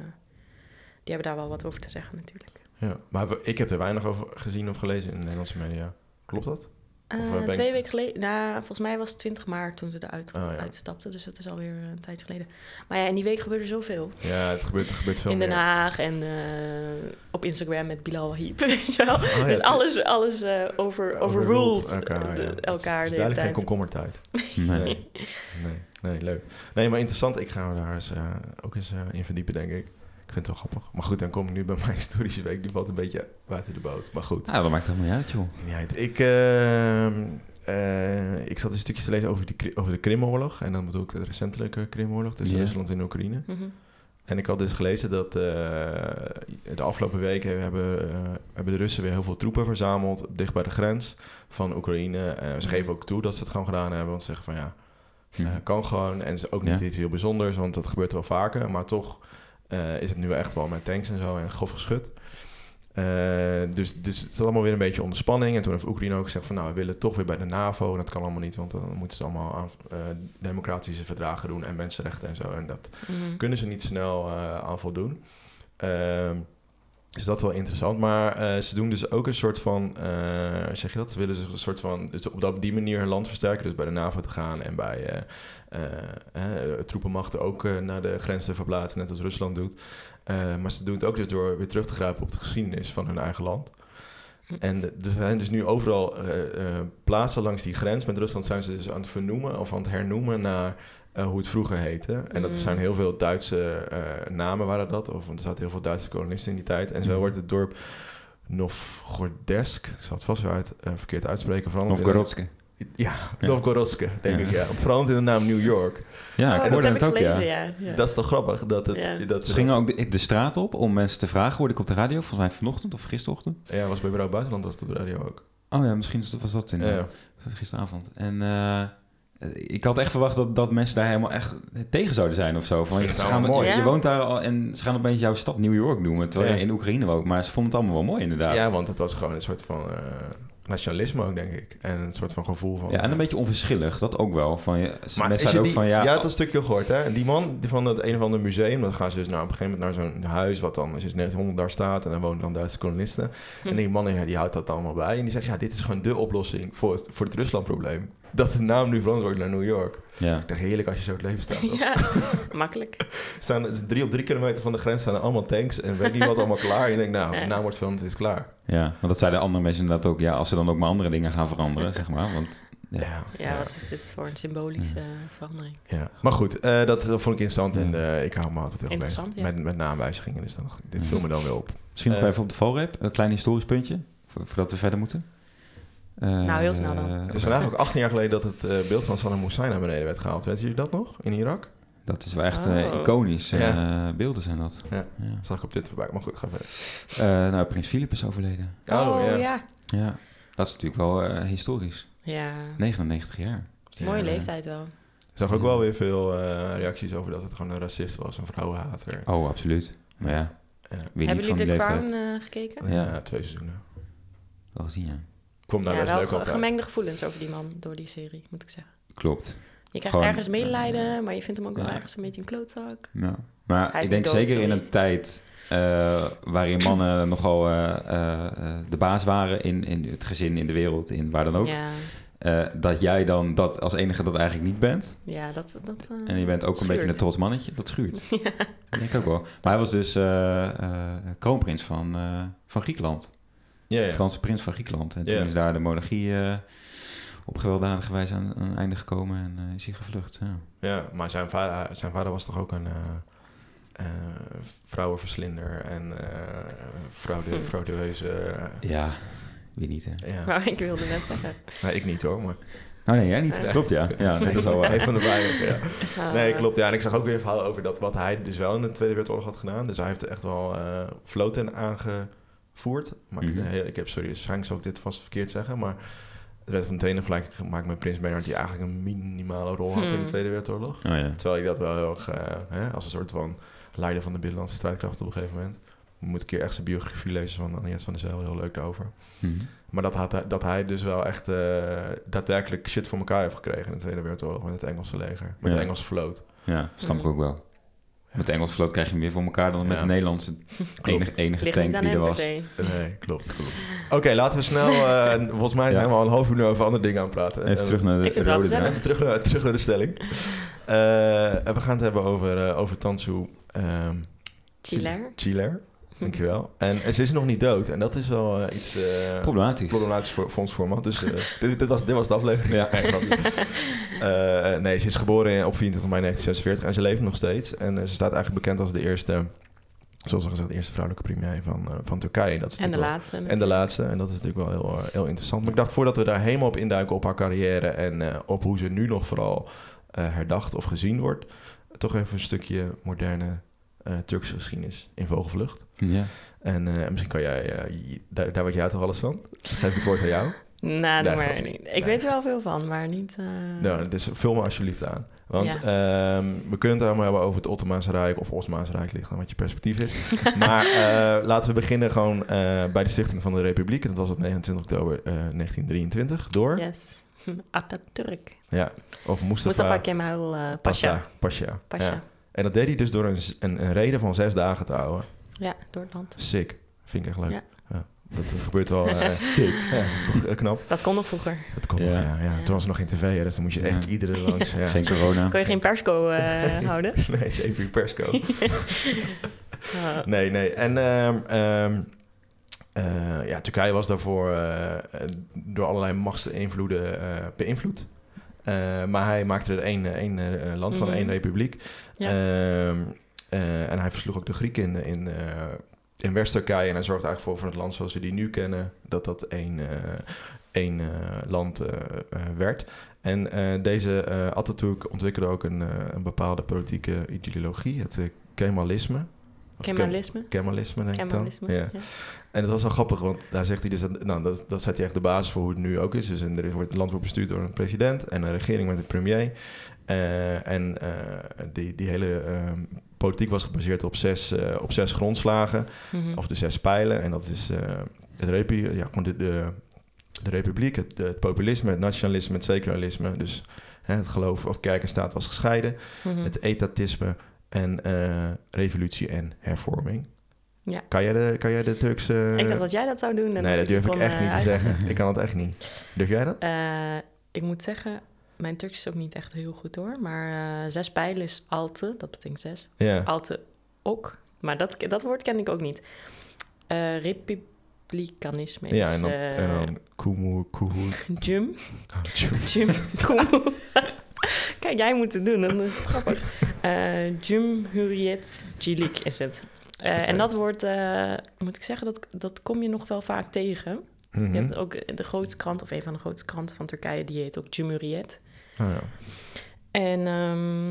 die hebben daar wel wat over te zeggen natuurlijk. Ja, maar we- ik heb er weinig over gezien of gelezen in de Nederlandse media. Klopt dat? Eh, Of, eh, ben twee ik- weken geleden, nou, volgens mij was het 20 maart toen ze eruit Ah, ja. uitstapte, dus dat is alweer een tijdje geleden. Maar ja, in die week gebeurde zoveel. Ja, het gebeurt, er gebeurt veel in meer. Den Haag en eh, op Instagram met Bilal Wahib, (laughs) weet je wel. Oh ja, dus het- alles, alles eh, over, overruled elkaar. de- ja. elkaar Het is- het is de duidelijk geen hele tijd. (laughs) komkommertijd. Nee. Nee. nee, nee, leuk. Nee, maar interessant. Ik ga me daar eens, eh, ook eens eh, in verdiepen, denk ik. Ik vind het wel grappig. Maar goed, dan kom ik nu bij (laughs) mijn historische week. Die valt een beetje buiten de boot. Maar goed. Nou, dat maakt helemaal niet uit, joh. Niet uit. Ik, ehm, eh, ik zat een stukje te lezen over, die, Kri- over de Krimoorlog. En dan bedoel ik de recentelijke Krimoorlog tussen Ja. Rusland en Oekraïne. Mhm. En ik had dus gelezen dat eh, de afgelopen weken hebben, eh, hebben de Russen weer heel veel troepen verzameld dicht bij de grens van Oekraïne. Eh, ze geven ook toe dat ze het gewoon gedaan hebben, want ze zeggen van ja, eh, kan gewoon. En het is ook niet Mhm. Ja. iets heel bijzonders, want dat gebeurt wel vaker. Maar toch eh, is het nu echt wel met tanks en zo en grof geschut. Eh, dus, dus het is allemaal weer een beetje onder spanning. En toen heeft Oekraïne ook gezegd van... nou, we willen toch weer bij de NAVO. En dat kan allemaal niet, want dan moeten ze allemaal aan, eh, democratische verdragen doen... en mensenrechten en zo. En dat Mhm. kunnen ze niet snel eh, aan voldoen. Ehm, dus dat is wel interessant. Maar eh, ze doen dus ook een soort van, eh, zeg je dat? Ze willen dus een soort van, dus op dat- die manier hun land versterken. Dus bij de NAVO te gaan en bij eh, eh, eh, troepenmachten ook eh, naar de grens te verplaatsen, net als Rusland doet. Eh, maar ze doen het ook dus door weer terug te grijpen op de geschiedenis van hun eigen land. En de- er zijn dus nu overal eh, eh, plaatsen langs die grens met Rusland zijn ze dus aan het vernoemen of aan het hernoemen naar eh, hoe het vroeger heette. En dat Mm. zijn heel veel Duitse eh, namen waren dat, of want er zaten heel veel Duitse kolonisten in die tijd. En zo Mm. wordt het dorp Novgorodsk, ik zal het vast weer uit, eh, verkeerd uitspreken, veranderd. Of in- Gorotske. Ja, Novgorodsk, denk Ja. ik, ja. Veranderd in de naam New York. Ja, Oh, ik dat hoorde heb het ik ook, gelezen, ja. ja. ja. Dat is toch grappig dat het... Ja. Dat Ze gingen ook de, de straat op om mensen te vragen, hoorde ik op de radio, volgens mij vanochtend of gisterochtend. Ja, was bij Bureau Buitenland was het op de radio ook. Oh ja, misschien is dat- was dat in, Ja. gisteravond. En eh, ik had echt verwacht dat, dat mensen daar helemaal echt tegen zouden zijn of zo. Van, Vind je, ik ze nou gaan, wel mooi. je Ja. woont daar al en ze gaan opeens jouw stad New York noemen, terwijl Ja. je in Oekraïne woont. Maar ze vonden het allemaal wel mooi inderdaad. Ja, Ja, want het was gewoon een soort van eh, nationalisme ook, denk ik. En een soort van gevoel van... en een beetje onverschillig, dat ook wel. Van, je, ze- Maar is mensen je zeiden die, ook van, ja, oh. jij had dat stukje gehoord, hè? En die man die van dat een of ander museum, dan gaan ze dus nou, op een gegeven moment naar zo'n huis, wat dan sinds 1900 daar staat, en dan wonen dan Duitse kolonisten. Hm. En die (laughs) man ja, die houdt dat allemaal bij. En die zegt, ja, dit is gewoon de oplossing voor het, voor het Rusland-probleem. Dat de naam nu veranderd wordt naar New York. ja. Ik dacht, heerlijk als je zo het leven (laughs) staat. toch? Ja, makkelijk. staan dus drie op drie kilometer van de grens staan er allemaal tanks en weet niet wat allemaal klaar. En je denkt, nou, Ja. de naam wordt veranderd, het is klaar. Ja, want dat zeiden andere mensen inderdaad ook. Ja, als ze dan ook maar andere dingen gaan (laughs) veranderen, zeg maar. Want Ja. Ja, wat is dit voor een symbolische eh, verandering? Ja, maar goed, eh, dat, dat vond ik interessant en Ja. eh, ik hou me altijd heel bezig Interessant, ja. met, met naamwijzigingen. Dus dan, dit viel me dan weer op. misschien nog Eh. even op de valreep, een klein historisch puntje, vo- voordat we verder moeten. Eh, Nou, heel snel dan. Het is vandaag ook 18 jaar geleden dat het eh, beeld van Saddam Hussein naar beneden werd gehaald. Weten jullie dat nog? In Irak? Dat is wel echt eh, Oh. iconisch. eh, Ja. beelden zijn dat. Ja. Ja. Dat zag ik op dit voorbij. Maar goed, ga verder. Eh, nou, Prins Philip is overleden. ja. ja. Oh, ja. Ja. Dat is natuurlijk wel eh, historisch. 99 jaar. Mooie Ja. leeftijd wel. Ik zag ook wel weer veel eh, reacties over dat het gewoon een racist was, een vrouwenhater. Oh, absoluut. Maar ja, Ja. weer Hebben niet van jullie die de leeftijd. Crown eh, gekeken? Ja. Ja. twee seizoenen. Wel gezien, ja. Ik vond Nou, daar ja, best wel leuk ge- altijd. gemengde gevoelens over die man door die serie, moet ik zeggen. Klopt. Je krijgt Gewoon, ergens medelijden, maar je vindt hem ook wel ja. ergens een beetje een klootzak. Ja. Maar Hij is ik denk niet dood, zeker in sorry. een tijd eh, waarin mannen nogal eh, eh, eh, de baas waren in, in het gezin, in de wereld, in waar dan ook. Ja, eh, dat jij dan dat als enige dat eigenlijk niet bent. ja dat... dat eh, En je bent ook een beetje een (laughs) schuurt. trots mannetje. Dat schuurt. Dat denk ik ook wel. Maar hij was dus eh, eh, kroonprins van, eh, van Griekenland. Ja, de ja. Franse prins van Griekenland. En toen Ja. is daar de monarchie eh, op gewelddadige wijze aan, aan het einde gekomen en eh, is hij gevlucht. Ja. Ja, maar zijn vader, zijn vader was toch ook een eh, eh, vrouwenverslinder en eh fraude, Hm. fraudeuze... eh, ja, wie niet hè? ja. Maar ik wilde net zeggen. Nou, ik niet hoor, maar... Nou nee, jij niet. Nee. Klopt ja. Ja, dat is wel (laughs) waar. Een van de weinigen, ja. eh, Nee, klopt. Ja, en ik zag ook weer een verhaal over dat wat hij dus wel in de Tweede Wereldoorlog had gedaan. Dus hij heeft echt wel eh floten aangevoerd. Maar ik- Mhm. eh, ik heb, sorry, waarschijnlijk zou ik dit vast verkeerd zeggen, maar het werd van meteen een vergelijking gemaakt met Prins Bernhard, die eigenlijk een minimale rol had in Hmm. de Tweede Wereldoorlog. Oh ja. Terwijl je dat wel heel erg, eh, hè, als een soort van leider van de binnenlandse strijdkrachten op een gegeven moment. Moet ik hier echt zijn biografie lezen van Agnes van der Zijl, heel leuk daarover. Mhm. Maar dat, had hij, dat hij dus wel echt eh, daadwerkelijk shit voor elkaar heeft gekregen in de Tweede Wereldoorlog met het Engelse leger, met Ja. de Engelse vloot. Ja, snap ik ook wel. Met het Engels vloot krijg je meer voor elkaar dan met het Nederlands. Enige, enige Ligt tank niet aan die er hem per was. se. Nee, klopt, (laughs) klopt. Oké, laten we snel... eh, volgens mij zijn we al een half uur nu over andere dingen aan het praten. Even En- terug naar Ik de vind het wel rode gezellig. draad. Even terug naar, terug naar de stelling. Eh, we gaan het hebben over, eh, over Tansu ehm Chiller. Chilair. Dankjewel. En, en ze is nog niet dood. En dat is wel eh, iets eh, Problematisch. problematisch voor, voor ons format. Dus eh, dit, dit, was, dit was de aflevering. Ja. Nee, grapje. Eh, nee, ze is geboren in- op 24 mei 1946 en ze leeft nog steeds. En eh, ze staat eigenlijk bekend als de eerste, zoals al gezegd, de eerste vrouwelijke premier van, eh, van Turkije. Dat is (laughs) En de natuurlijk wel- laatste. en de natuurlijk. laatste, en dat is natuurlijk wel heel, eh, heel interessant. Maar ik dacht, voordat we daar helemaal op induiken op haar carrière en eh, op hoe ze nu nog vooral eh, herdacht of gezien wordt, toch even een stukje moderne eh, Turkse geschiedenis in vogelvlucht. Ja. En eh, misschien kan jij, eh, je- daar, daar weet jij toch alles van? Dus ik geef het woord aan jou. Nou, doe Nee, maar grapje. niet. Ik Nee. weet er wel veel van, maar niet... eh, Nou, dus vul me alsjeblieft aan. Want ehm, we kunnen het allemaal hebben over het Ottomaanse Rijk of Osmaanse Rijk, ligt aan wat je perspectief is. maar eh, laten we beginnen gewoon eh, bij de Stichting van de Republiek. En dat was op 29 oktober eh, 1923 door... Yes. (laughs) Atatürk. Ja, of Mustafa, Mustafa Kemal eh, Pasha. Pasha. Pasha. Pasha. Ja. En dat deed hij dus door een, z- een, een reden van zes dagen te houden. Ja, door het land. Sick. Vind ik echt leuk. Ja. Ja. dat gebeurt wel. eh, Sick. ja, dat is toch eh, knap. Dat kon nog vroeger. Dat kon Ja. nog, ja. ja. Toen was er nog geen tv, hè, dus dan moest je echt Ja. iedere langs. Ja. (laughs) Geen corona. Kon je geen persco eh, houden? (laughs) Nee, is even uw persco. (laughs) Eh, Nee, nee. En ehm, ehm, eh, ja, Turkije was daarvoor eh, eh, door allerlei machten en invloeden eh, beïnvloed. Eh, maar hij maakte er één, eh, één eh, land van, Mhm. één republiek. Ja. Ehm, eh, en hij versloeg ook de Grieken in, in, eh, in West-Turkije. En hij zorgde eigenlijk voor, voor het land zoals we die nu kennen, dat dat één, eh, één eh, land eh, eh, werd. En eh, deze eh Atatürk ontwikkelde ook een, eh, een bepaalde politieke ideologie, het eh, Kemalisme. Of Kem- Kemalisme. Kemalisme, denk Kemalisme. ik dan. Ja. ja. En dat was wel grappig, want daar zegt hij dus... Dat, nou, dat, dat zet hij echt de basis voor hoe het nu ook is. Dus en er wordt, het land wordt bestuurd door een president... en een regering met een premier. Eh, en eh, die, die hele eh, politiek was gebaseerd op zes, eh, op zes grondslagen... Mhm. of de zes pijlen. En dat is eh, het repu- ja, gewoon de, de, de republiek, het, het populisme... het nationalisme, het secularisme. Dus hè, het geloof of kerk en staat was gescheiden. Mhm. Het etatisme en eh, revolutie en hervorming. Ja. Kan, jij de, kan jij de Turkse... Ik dacht dat jij dat zou doen. en eh, nee, dat je durf ik kon, echt eh, niet te uit- (laughs) zeggen. Ik kan dat echt niet. Durf jij dat? Eh, ik moet zeggen, mijn Turks is ook niet echt heel goed hoor. Maar eh, zes pijlen is alte, dat betekent zes. Ja. Alte ook, maar dat, dat woord ken ik ook niet. Eh, republikanisme is... Ja, en dan, eh, en (laughs) dan Kumu, Kuhu. Jum, Jum, (laughs) kom. Kijk, jij moet het doen, dat is het grappig. Eh Cumhuriyet Cilik is het. Eh, Oké. En dat woord, eh, moet ik zeggen, dat, dat kom je nog wel vaak tegen. Mhm. Je hebt ook de grootste krant, of een van de grootste kranten van Turkije, die heet ook Cumhuriyet. Oh, ja. En ehm,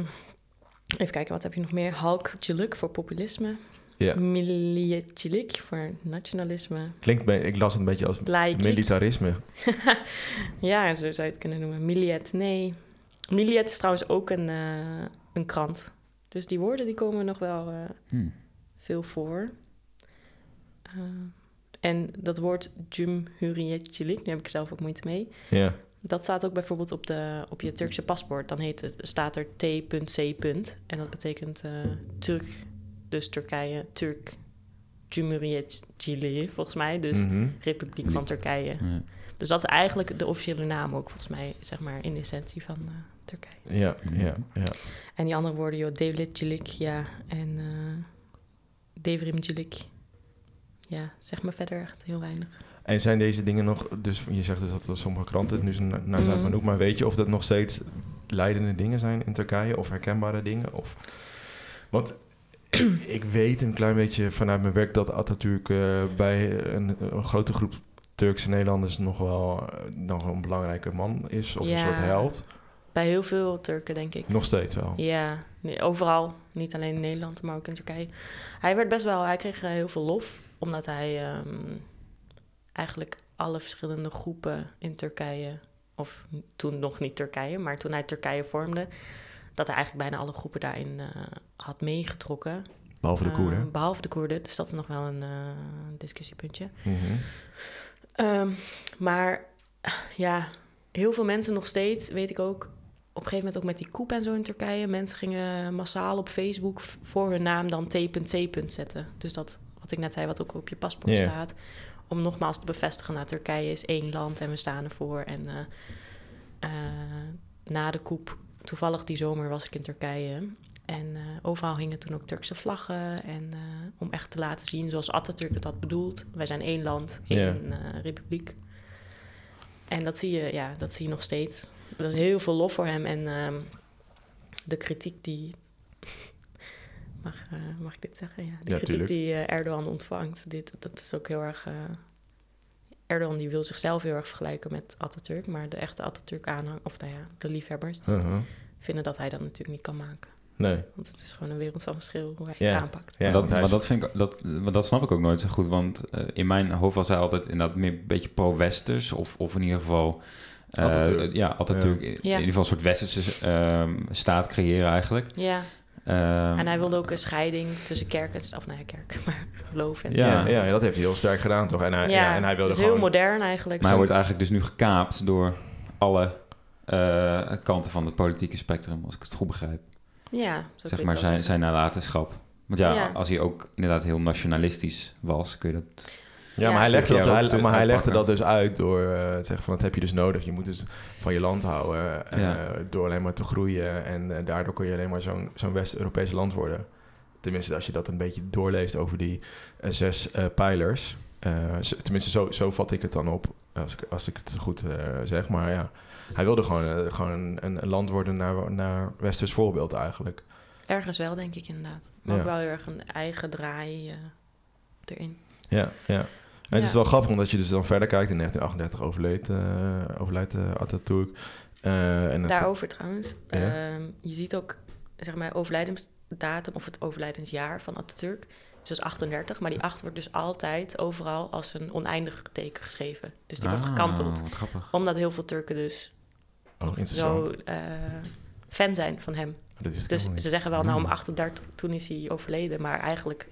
even kijken, wat heb je nog meer? Halk Cilik voor populisme. Ja. Milliyet Cilik voor nationalisme. Klinkt be- ik las het een beetje als Laik. militarisme. (laughs) Ja, zo zou je het kunnen noemen. Milliet, nee. Milliet is trouwens ook een, eh, een krant. Dus die woorden die komen nog wel eh, Hm. veel voor. Eh, en dat woord Cumhuriyetçilik, nu heb ik zelf ook moeite mee. Ja. Dat staat ook bijvoorbeeld op, de, op Mhm. je Turkse paspoort. Dan heet het, staat er T.C. En dat betekent eh, Turk, dus Turkije, Turk, Cumhuriyetçilik volgens mij. Dus Mhm. Republiek van Turkije. Ja. Dus dat is eigenlijk de officiële naam ook, volgens mij, zeg maar, in de essentie van eh, Turkije. ja. Ja, ja, En die andere woorden, joh, Devlet Cilik, ja, en eh Devrim Cilik. Ja, zeg maar verder echt heel weinig. En zijn deze dingen nog... Dus je zegt dus dat sommige kranten het nu zijn naar Mhm. zuid van Hoek... maar weet je of dat nog steeds leidende dingen zijn in Turkije... of herkenbare dingen? Of... Want (clears throat) ik weet een klein beetje vanuit mijn werk... dat Atatürk eh, bij een, een grote groep Turkse Nederlanders... nog wel eh, nog een belangrijke man is of een Ja. soort held. Bij heel veel Turken, denk ik. Nog steeds wel. Ja, nee, overal. Niet alleen in Nederland, maar ook in Turkije. Hij werd best wel, hij kreeg eh, heel veel lof, omdat hij ehm, eigenlijk alle verschillende groepen in Turkije, of toen nog niet Turkije, maar toen hij Turkije vormde, dat hij eigenlijk bijna alle groepen daarin eh, had meegetrokken. Behalve de Koerden. Eh, behalve de Koerden, dus dat is nog wel een eh, discussiepuntje. Mhm. Ehm, maar ja, heel veel mensen nog steeds, weet ik ook, op een gegeven moment ook met die koep en zo in Turkije. Mensen gingen massaal op Facebook v- voor hun naam dan T.C. zetten. Dus dat, wat ik net zei, wat ook op je paspoort Ja. staat. Om nogmaals te bevestigen, nou, Turkije is één land en we staan ervoor. En eh, eh, na de koep, toevallig die zomer was ik in Turkije. En eh, overal hingen toen ook Turkse vlaggen. En eh, om echt te laten zien, zoals Atatürk het had bedoeld. Wij zijn één land, Ja. één eh, republiek. En dat zie je, ja, dat zie je nog steeds. Er is heel veel lof voor hem. En ehm, de kritiek die. (laughs) mag, eh, mag ik dit zeggen? Ja, de Ja, kritiek tuurlijk. die eh, Erdogan ontvangt. Dit, dat is ook heel erg. eh, Erdogan die wil zichzelf heel erg vergelijken met Atatürk. Maar de echte Atatürk-aanhang, of nou ja, de liefhebbers, Uh-huh. vinden dat hij dat natuurlijk niet kan maken. Nee. Want het is gewoon een wereld van verschil hoe hij Ja. het aanpakt. Ja, maar, dat, want hij maar is- dat, vind ik, dat, maar dat snap ik ook nooit zo goed. Want eh, in mijn hoofd was hij altijd inderdaad meer een beetje pro-westers. Of, of in ieder geval... eh, Atatürk. Ja, altijd Ja. natuurlijk. In, Ja. ieder geval een soort westerse ehm, staat creëren eigenlijk. Ja, Ehm, en hij wilde ook een scheiding tussen kerk en... Of nou ja, kerk, (laughs) maar geloof en... Ja. Ja. Ja, dat heeft hij heel sterk gedaan, toch? En hij, ja. en hij wilde dus gewoon... heel modern eigenlijk. Maar hij wordt eigenlijk dus nu gekaapt door alle eh, kanten van het politieke spectrum, als ik het goed begrijp. Ja, zo kun je zeg het maar wel zijn, zeggen. zijn nalatenschap. Want ja, Ja. als hij ook inderdaad heel nationalistisch was, kun je dat... Ja, Ja. maar hij legde, Stukje dat, hij- ook te maar hij legde uitpakken. dat dus uit door eh, te zeggen van dat heb je dus nodig. Je moet dus van je land houden eh, Ja. door alleen maar te groeien. En eh, daardoor kun je alleen maar zo'n zo'n West-Europees land worden. Tenminste, als je dat een beetje doorleest over die eh, zes eh, pijlers. Eh, z- tenminste, zo, zo vat ik het dan op, als ik, als ik het goed eh, zeg. Maar ja, hij wilde gewoon, eh, gewoon een, een land worden naar, naar Westers voorbeeld eigenlijk. Ergens wel, denk ik inderdaad. Maar Ja. ook wel heel erg een eigen draai eh, erin. Ja, ja. En het Ja. is wel grappig, omdat je dus dan verder kijkt. In 1938 overleed, eh overlijdt eh, Atatürk. Eh, en het- Daarover trouwens. Ja. ehm, je ziet ook, zeg maar, overlijdensdatum of het overlijdensjaar van Atatürk. Dus dat is 38, maar die 8 wordt dus altijd overal als een oneindig teken geschreven. Dus die wordt Ah, gekanteld. Wat grappig. Omdat heel veel Turken dus Oh, interessant. Oh, zo eh, fan zijn van hem. Dat wist ik Dus helemaal niet. ze zeggen wel, nou om Hmm. 38 toen is hij overleden, maar eigenlijk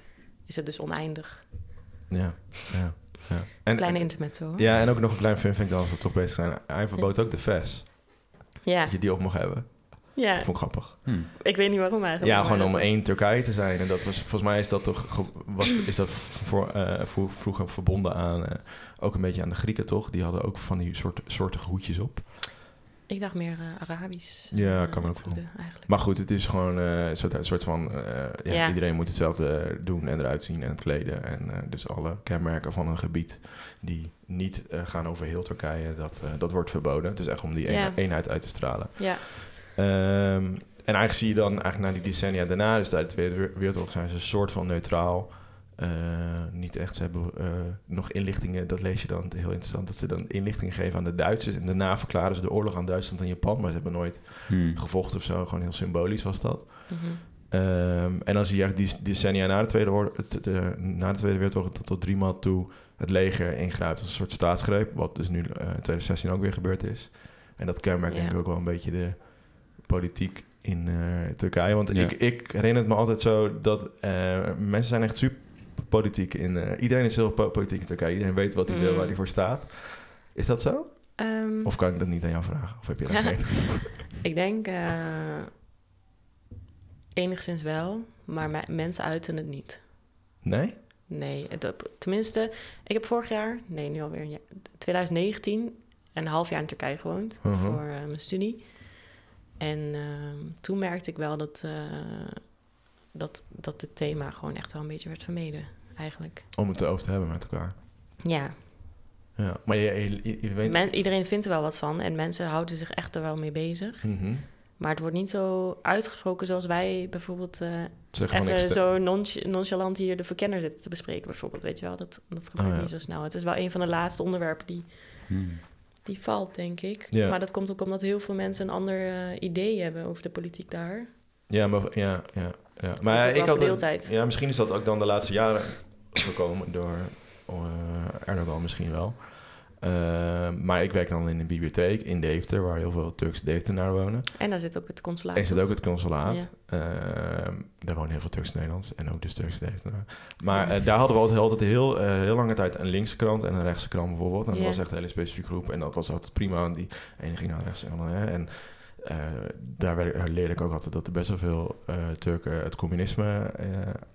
is het dus oneindig. Ja, ja, ja. En, Kleine internet zo. Ja. Ja, en ook nog een klein fun fact dan, als we toch bezig zijn. Hij verbood ook de VES, Ja. dat je die op mocht hebben. ja, Dat vond ik grappig. Hm. ik weet niet waarom eigenlijk. Ja, maar gewoon om dat- één Turkije te zijn. En dat was, volgens mij is dat toch ge- was, is dat voor, eh, vroeg- vroeger verbonden aan, eh, ook een beetje aan de Grieken toch? Die hadden ook van die soort, soortige hoedjes op. Ik dacht meer eh, Arabisch. Ja, eh, kan ook wel. invloeden Eigenlijk. Maar goed, het is gewoon eh, een soort, een soort van... eh, ja, Ja. Iedereen moet hetzelfde doen en eruit zien en kleden. En eh, dus alle kenmerken van een gebied die niet eh, gaan over heel Turkije, dat, eh, dat wordt verboden. Dus echt om die eenheid, Ja. eenheid uit te stralen. Ja, Ehm, en eigenlijk zie je dan eigenlijk na die decennia daarna, dus tijdens de Tweede Wereldoorlog, zijn ze een soort van neutraal. Eh, niet echt, ze hebben eh, nog inlichtingen, dat lees je dan heel interessant, dat ze dan inlichtingen geven aan de Duitsers. En daarna verklaren ze de oorlog aan Duitsland en Japan, maar ze hebben nooit Hm. Hmm. gevochten of zo. Gewoon heel symbolisch was dat. mhm. Ehm, en dan zie je eigenlijk die decennia na de Tweede, Oor- het- de- na de Tweede Wereldoorlog... dat tot drie maal toe het leger ingrijpt als een soort staatsgreep... wat dus nu eh, in 2016 ook weer gebeurd is. En dat kenmerkt Ja. denk ik ook wel een beetje de politiek in eh, Turkije. Want Ja. ik, ik herinner het me altijd zo dat eh, mensen zijn echt super politiek in... eh, iedereen is heel po- politiek in Turkije. Iedereen weet wat hij wil, Mm. waar hij voor staat. Is dat zo? Ehm, Of kan ik dat niet aan jou vragen? Of heb je (laughs) daar geen... Ik denk eh, enigszins wel, maar me- mensen uiten het niet. Nee? Nee, het, tenminste, ik heb vorig jaar, nee nu alweer, een jaar- 2019, een half jaar in Turkije gewoond. Mhm. voor eh, mijn studie. En ehm, toen merkte ik wel dat, eh, dat, dat het thema gewoon echt wel een beetje werd vermeden, eigenlijk. Om het erover te hebben met elkaar. Ja, Ja, maar je, je- je- je weet... Men- iedereen vindt er wel wat van en mensen houden zich echt er wel mee bezig. Mhm. Maar het wordt niet zo uitgesproken zoals wij bijvoorbeeld eh, Zeg gewoon niks. even te- zo nonch- nonchalant hier de verkenner zitten te bespreken, bijvoorbeeld. Weet je wel, dat, dat gebeurt Oh, ja. niet zo snel. Het is wel een van de laatste onderwerpen die, Hm. die valt, denk ik. Ja. Maar dat komt ook omdat heel veel mensen een ander eh, idee hebben over de politiek daar. Ja, maar, ja, ja, ja. maar is ja, ook wel ik had verdeeldheid. ja, misschien is dat ook dan de laatste jaren gekomen door eh, Erdogan misschien wel. Eh, maar ik werk dan in een bibliotheek in Deventer, waar heel veel Turkse Deventenaren wonen. En daar zit ook het consulaat. En zit ook het consulaat. Ehm, daar wonen heel veel Turks Nederlands en ook dus Turks Deventenaren. Maar eh, daar hadden we altijd, altijd heel, eh, heel lange tijd een linkse krant en een rechtse krant bijvoorbeeld. En dat Ja. was echt een hele specifieke groep en dat was altijd prima. En die ene ging naar rechts en de andere, hè. En Uh, daar werd, leerde ik ook altijd dat er best wel veel uh, Turken het communisme uh,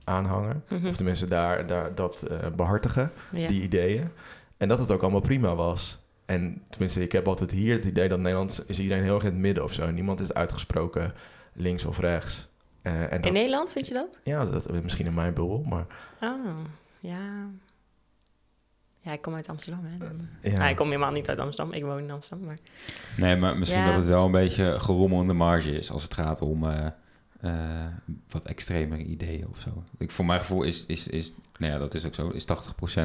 aanhangen. Mhm. Hm. Mm -hmm. Of tenminste daar, daar dat eh, behartigen, ja. die ideeën. En dat het ook allemaal prima was. En tenminste, ik heb altijd hier het idee dat Nederland is iedereen heel erg in het midden of zo. Niemand is uitgesproken links of rechts. Eh, En dat, in Nederland vind je dat? Ja, dat, misschien in mijn bubbel, maar... Oh, ja. Ja, ik kom uit Amsterdam. Eh, Hè. Ja. Nou, ik kom helemaal niet uit Amsterdam. Ik woon in Amsterdam. Maar... Nee, maar misschien ja. dat het wel een beetje gerommel in de marge is als het gaat om uh, uh, wat extremere ideeën of zo. Ik, voor mijn gevoel is, is, is, nou ja, dat is ook zo, is 80%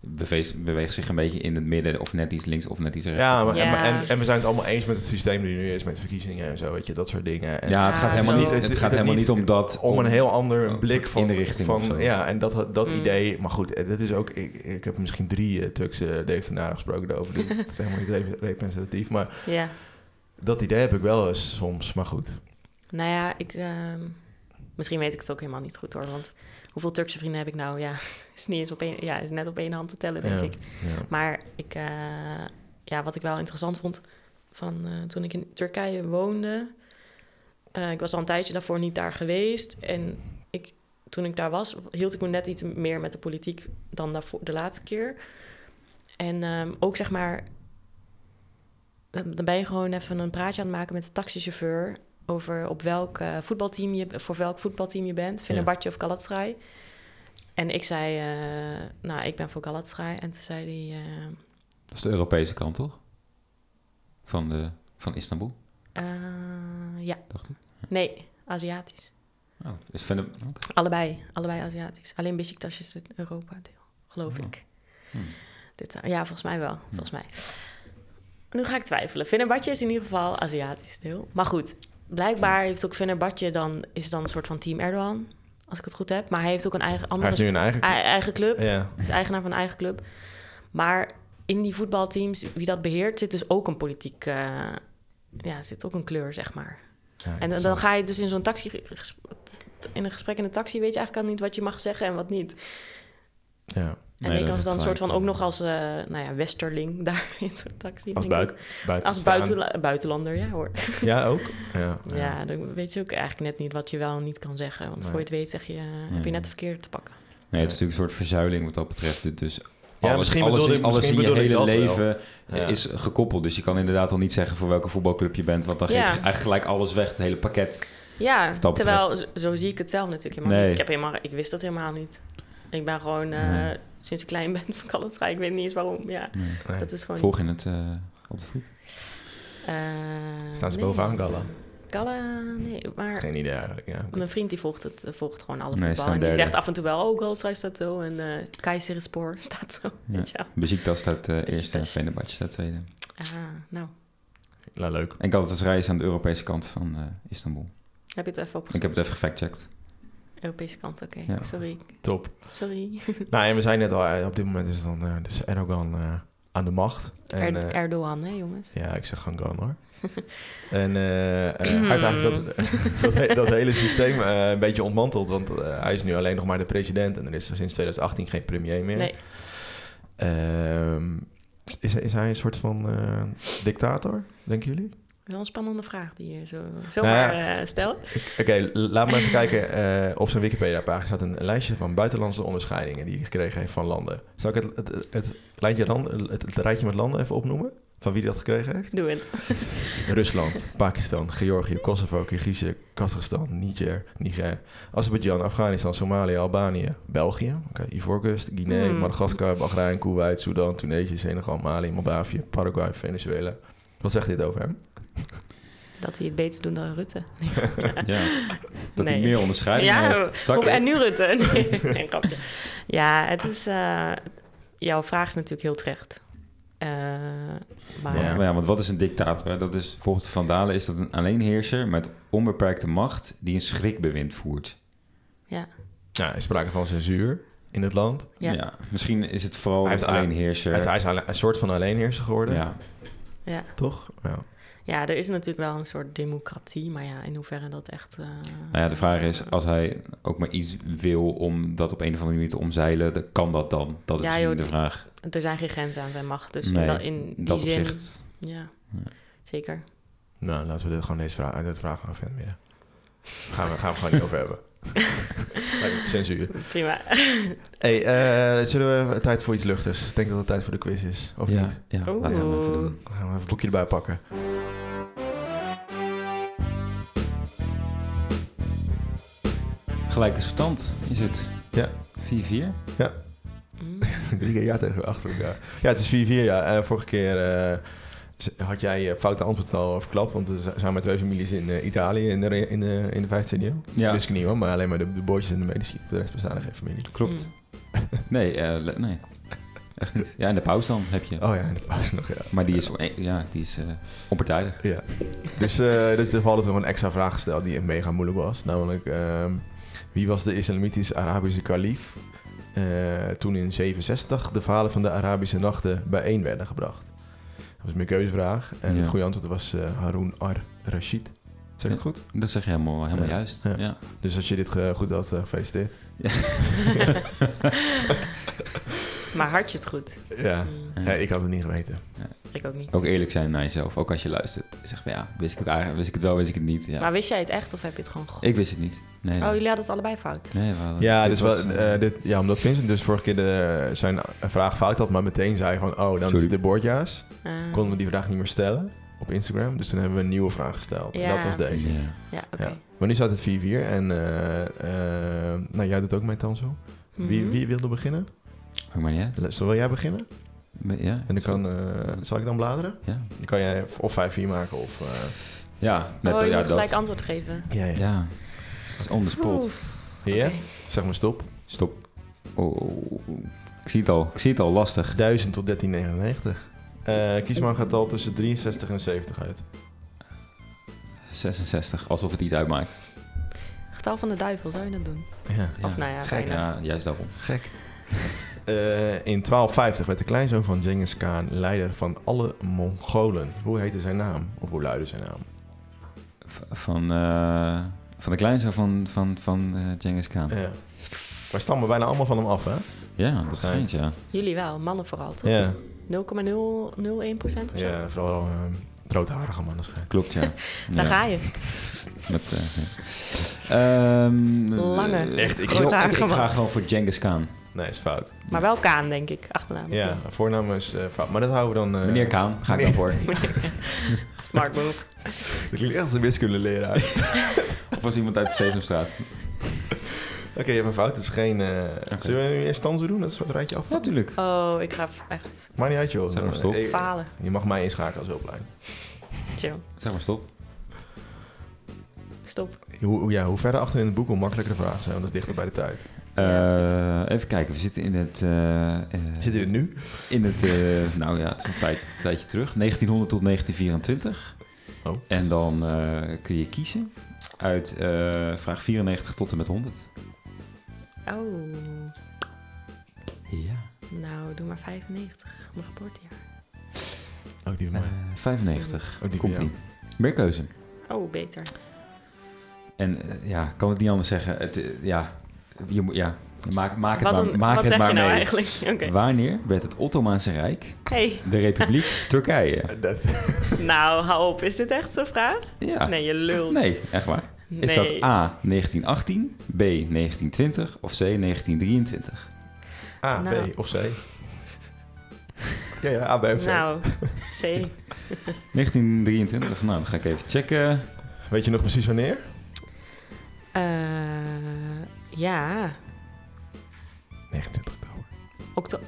beweegt, beweegt zich een beetje in het midden of net iets links of net iets rechts. Ja, maar, ja. En, en, we zijn het allemaal eens met het systeem die nu is met verkiezingen en zo, weet je, dat soort dingen. En ja, het gaat helemaal niet, het, het, het gaat helemaal niet om dat. Om, om een heel ander om, blik van, in de richting van, van ja, en dat, dat mm. idee. Maar goed, dat is ook, ik, ik heb misschien drie uh, Turkse deventenaren gesproken over, dus het is helemaal niet rep representatief, maar yeah. dat idee heb ik wel eens soms, maar goed. Nou ja, ik, uh, misschien weet ik het ook helemaal niet goed hoor, want hoeveel Turkse vrienden heb ik nou? Ja, (laughs) is, niet eens op één, ja, is net op één hand te tellen, denk ja, ik. Ja. Maar ik, uh, ja, wat ik wel interessant vond van uh, toen ik in Turkije woonde. Uh, ik was al een tijdje daarvoor niet daar geweest. En ik, toen ik daar was, hield ik me net iets meer met de politiek dan daarvoor, de laatste keer. En um, ook zeg maar, dan ben je gewoon even een praatje aan het maken met de taxichauffeur over op welk uh, voetbalteam je voor welk voetbalteam je bent, Fenerbahce ja. of Galatasaray. En ik zei, uh, nou, ik ben voor Galatasaray. En toen zei hij. Uh, dat is de Europese kant, toch? Van, de, van Istanbul? Eh, ja. Dacht ik? Ja. Nee, Aziatisch. Oh, is Fener... Okay. Allebei, allebei Aziatisch. Alleen Besiktas is het Europa-deel, geloof oh. ik. Hmm. Dit, ja, volgens mij wel. Hmm. Volgens mij. Nu ga ik twijfelen. Fenerbahce is in ieder geval Aziatisch deel. Maar goed, blijkbaar heeft ook Fenerbahce dan is dan een soort van team Erdogan, als ik het goed heb. Maar hij heeft ook een eigen andere. Hij is nu een eigen club. Eigen club. Ja. Is eigenaar van een eigen club. Maar in die voetbalteams, wie dat beheert, zit dus ook een politiek, uh, ja, zit ook een kleur zeg maar. Ja, en dan, eh, dan, ga je dus in zo'n taxi, in een gesprek in een taxi, weet je eigenlijk al niet wat je mag zeggen en wat niet. Ja. En nee, ik was dan een soort van ook nog als uh, nou ja, westerling (laughs) daar in zo'n taxi. Als, buiten, als buiten, buitenlander, ja hoor. (laughs) Ja, ook? Ja, ja. ja, dan weet je ook eigenlijk net niet wat je wel en niet kan zeggen. Want nee. voor je het weet zeg je, eh, heb je net de verkeerde te pakken. Nee, het is natuurlijk een soort verzuiling wat dat betreft. Dus ja, alles, misschien alles, bedoel ik, alles misschien in je bedoel hele leven ja. is gekoppeld. Dus je kan inderdaad al niet zeggen voor welke voetbalclub je bent. Want dan geef je eigenlijk gelijk alles weg, het hele pakket. Ja, terwijl zo, zo zie ik het zelf natuurlijk helemaal nee. niet. Ik, heb helemaal, ik wist dat helemaal niet. Ik ben gewoon uh, sinds ik klein ben (laughs) van Calatra. Ik weet niet eens waarom. Ja, nee. dat is gewoon. Volg in het uh, op de voet. Uh, Staan ze nee. bovenaan Galla? Galla, nee, maar. Geen idee eigenlijk. Ja. Mijn vriend die volgt het, eh, volgt gewoon alle nee, voetbal. En die zegt af en toe wel, oh, Galatasaray staat zo en uh, Keizerenspoor (laughs) staat zo. Ja. Weet je Beziktas staat eh, eerste en Fenerbahce staat tweede. Ah, nou. Nou, leuk. En Galatasaray is aan de Europese kant van eh, Istanbul. Heb je het even opgezocht? Ik heb het even gefactcheckt. Europese kant, oké. Okay. Ja. Sorry. Top. Sorry. (laughs) nou, en we zijn net al, op dit moment is dan uh, dus Erdogan uh, aan de macht. En, (laughs) eh, er Erdogan, hè jongens? Ja, ik zeg Gangan (laughs) hoor. en uh, hij heeft eigenlijk dat, (laughs) dat, he dat hele systeem eh, een beetje ontmanteld, want eh, hij is nu alleen nog maar de president en er is sinds 2018 geen premier meer. Nee. Ehm, is, is hij een soort van eh, dictator, denken jullie? Wel een spannende vraag die je zo, zomaar nou ja, uh, stelt. (laughs) Oké, okay, laat me even kijken. Uh, op zijn Wikipedia-pagina staat een lijstje van buitenlandse onderscheidingen die hij gekregen heeft van landen. Zou ik het, het, het, lijntje landen, het, het rijtje met landen even opnoemen? Van wie die dat gekregen heeft? Doe het. Rusland, Pakistan, Georgië, Kosovo, Kirgizië, Kazachstan, Niger, Niger, Azerbeidzjan, Afghanistan, Somalië, Albanië, België, okay, Ivoorkust, Guinea, mm. Madagaskar, Bahrein, Kuwait, Sudan, Tunesië, Senegal, Mali, Moldavië, Paraguay, Venezuela. Wat zegt dit over hem? Dat hij het beter doet dan Rutte. Nee. ja. (laughs) Dat nee. hij meer (laughs) onderscheiding ja, heeft. Of, en nu Rutte. (laughs) Nee, nee grapje. Ja, het is... Uh, jouw vraag is natuurlijk heel terecht. Uh, maar... Ja, maar ja, want wat is een dictator? Hè? Dat is, volgens Van Dalen is dat een alleenheerser met onbeperkte macht... die een schrikbewind voert. Ja. Ja, er Nou, is sprake van censuur in het land. Ja. ja. Misschien is het vooral hij alleenheerser. Hij is een soort van alleenheerser geworden. Ja. ja. Toch? Ja. Ja, er is natuurlijk wel een soort democratie, maar ja, in hoeverre dat echt. eh, Uh, nou ja, de vraag is: als hij ook maar iets wil om dat op een of andere manier te omzeilen, dan kan dat dan? Dat is ja, joh, de vraag. dus Er zijn geen grenzen aan zijn macht, dus nee, in, in, die dat zin. Opzicht. Ja, ja, zeker. Nou, laten we dit gewoon deze vraag, dit vraag gaan verder. midden. Gaan we, gaan we gewoon niet over hebben. Lijkt me Censuur. Prima. Hey, eh, zullen we tijd voor iets luchtigs? Ik denk dat het tijd voor de quiz is, of ja, niet? ja Oeh. laten we hem even doen. Dan gaan we even een boekje erbij pakken. Gelijk is verstand, is het? Ja. 4-4. Mm. (laughs) Drie keer ja tegen achter elkaar. Ja, het is 4-4, ja. Eh, vorige keer eh, z- had jij eh, foute antwoord al verklapt, want we z- zijn met twee families in eh, Italië in de, re- in de, in de vijfde CDO. Ja, Wist ik niet hoor, maar alleen maar de, de boordjes en de medici. Voor de rest bestaan er geen familie. Mm. klopt. (laughs) Nee, eh, le- nee. Echt niet. Ja, en de pauze dan heb je. Oh ja, en de paus nog, ja. Maar die is, ja, die is eh, onpartijdig. Ja. Dus, eh dus er valt nog een extra vraag gesteld die mega moeilijk was. Namelijk, ehm, wie was de islamitisch-Arabische kalif eh, toen in 67 de verhalen van de Arabische nachten bijeen werden gebracht? Dat was mijn keuzevraag. En het Ja. goede antwoord was eh, Harun ar-Rashid. Zeg ik het goed? Dat zeg je helemaal, helemaal Ja. juist. Ja. Ja. Dus als je dit eh, goed had, eh, gefeliciteerd. maar had je het goed? Ja. Mm, Ja. Ja, ik had het niet geweten. Ik ook niet. Ook eerlijk zijn naar jezelf, ook als je luistert. Zeg van ja, wist ik het eigenlijk, wist ik het wel, wist ik het niet. Ja. Maar wist jij het echt of heb je het gewoon goed? ik wist het niet. Nee, Oh, nee. jullie hadden het allebei fout. Nee, we hadden- Ja, dit dus wel, was, eh, eh, dit, ja, omdat Vincent dus vorige keer de, zijn vraag fout had, maar meteen zei van... Oh, dan Sorry. is het de boordjaars. Ah. Mm-hmm. konden we die vraag niet meer stellen op Instagram. Dus toen hebben we een nieuwe vraag gesteld. en Ja, dat was deze. precies. Ja. Ja, oké. Ja. Maar nu staat het 4-4. En eh, eh, nou, jij doet ook mee, Tanzo. Wie, Mhm. wie wilde beginnen? Maakt maar niet uit. Le- Zal wil jij beginnen? Ja, En dan is kan, goed. eh, zal ik dan bladeren? Ja, Dan kan jij of 5-4 maken of... eh, ja, net, oh, je ja, moet gelijk dat. antwoord geven. ja, ja. Ja, dat is on the spot. Ja? Oké. Zeg maar stop. Stop. Oh, ik zie het al. Ik zie het al. Lastig. 1000 tot 1399. Eh Kiesman gaat al tussen 63 en 70 uit. 66. Alsof het iets uitmaakt. Getal van de duivel, zou je dat doen? Ja, Ja. Of nou ja, Gek, bijna. Ja, juist daarom. gek. Eh, in 1250 werd de kleinzoon van Genghis Khan leider van alle Mongolen. Hoe heette zijn naam? Of hoe luidde zijn naam? V- Van, eh, van de kleinzoon van, van, van eh Genghis Khan. Ja. Wij stammen bijna allemaal van hem af, hè? Ja, dat schijnt, ja. Jullie wel, mannen vooral, toch? 0,001% Ja, of zo? ja vooral ehm roodharige mannen schijnt. Klopt, (laughs) ja. Ja, Daar ga je. Met, eh, ja. Ehm, Lange, eh, Echt, ik- ik, grootharige ik ga man. gewoon voor Genghis Khan. Nee, is fout. Maar wel Kaan, denk ik, achternaam. Ja, voornaam is eh, fout. Maar dat houden we dan... eh, Meneer Kaan, ga ik dan voor. (laughs) Smart move. Dat klinkt echt als een (laughs) wiskundeleraar. Oké, Of was iemand uit de Sesamstraat? je hebt een fout. Dus geen... eh, Oké. Zullen we nu eerst stanzo doen? Dat is wat rijtje af. Ja, natuurlijk. Oh, ik ga f- echt Maakt niet uit, joh. Zeg maar stop. Eh, falen. je mag mij inschakelen als hulplijn. Chill. Zeg maar stop. Stop. Hoe, hoe- ja, hoe verder achter in het boek, hoe makkelijker de vragen zijn. Want dat is dichter bij de tijd. Eh, even kijken, we zitten in het... eh, eh, Zitten we nu? In het, eh, nou ja, het is een tijdje, tijdje terug, 1900 tot 1924. Oh. En dan eh, kun je kiezen uit eh, vraag 94 tot en met 100. Oh, Ja. nou, doe maar 95. Mijn geboortejaar. Ook Oh, die van mij. 95. Ook Eh, die Eh, Komt van jou. ie. Meer keuze. Oh, beter. En eh, ja, ik kan het niet anders zeggen. Het, eh, ja, je moet, ja, maak, maak het wat maar, een- maak wat het zeg maar je nou mee. eigenlijk? (laughs) Oké. Wanneer werd het Ottomaanse Rijk Hey, de (laughs) Republiek Turkije? Eh, Dat, nou, hou op. Is dit echt zo'n vraag? Ja. Nee, je lult. Ah. Nee, echt waar. Nee. Is dat A 1918, B 1920 of C 1923? A, Nou. B of C. ja, ja, A, B of C. Nou, (laughs) C. 1923, nou, dan ga ik even checken. Weet je nog precies wanneer? Eh, ja, 29 oktober. oktober.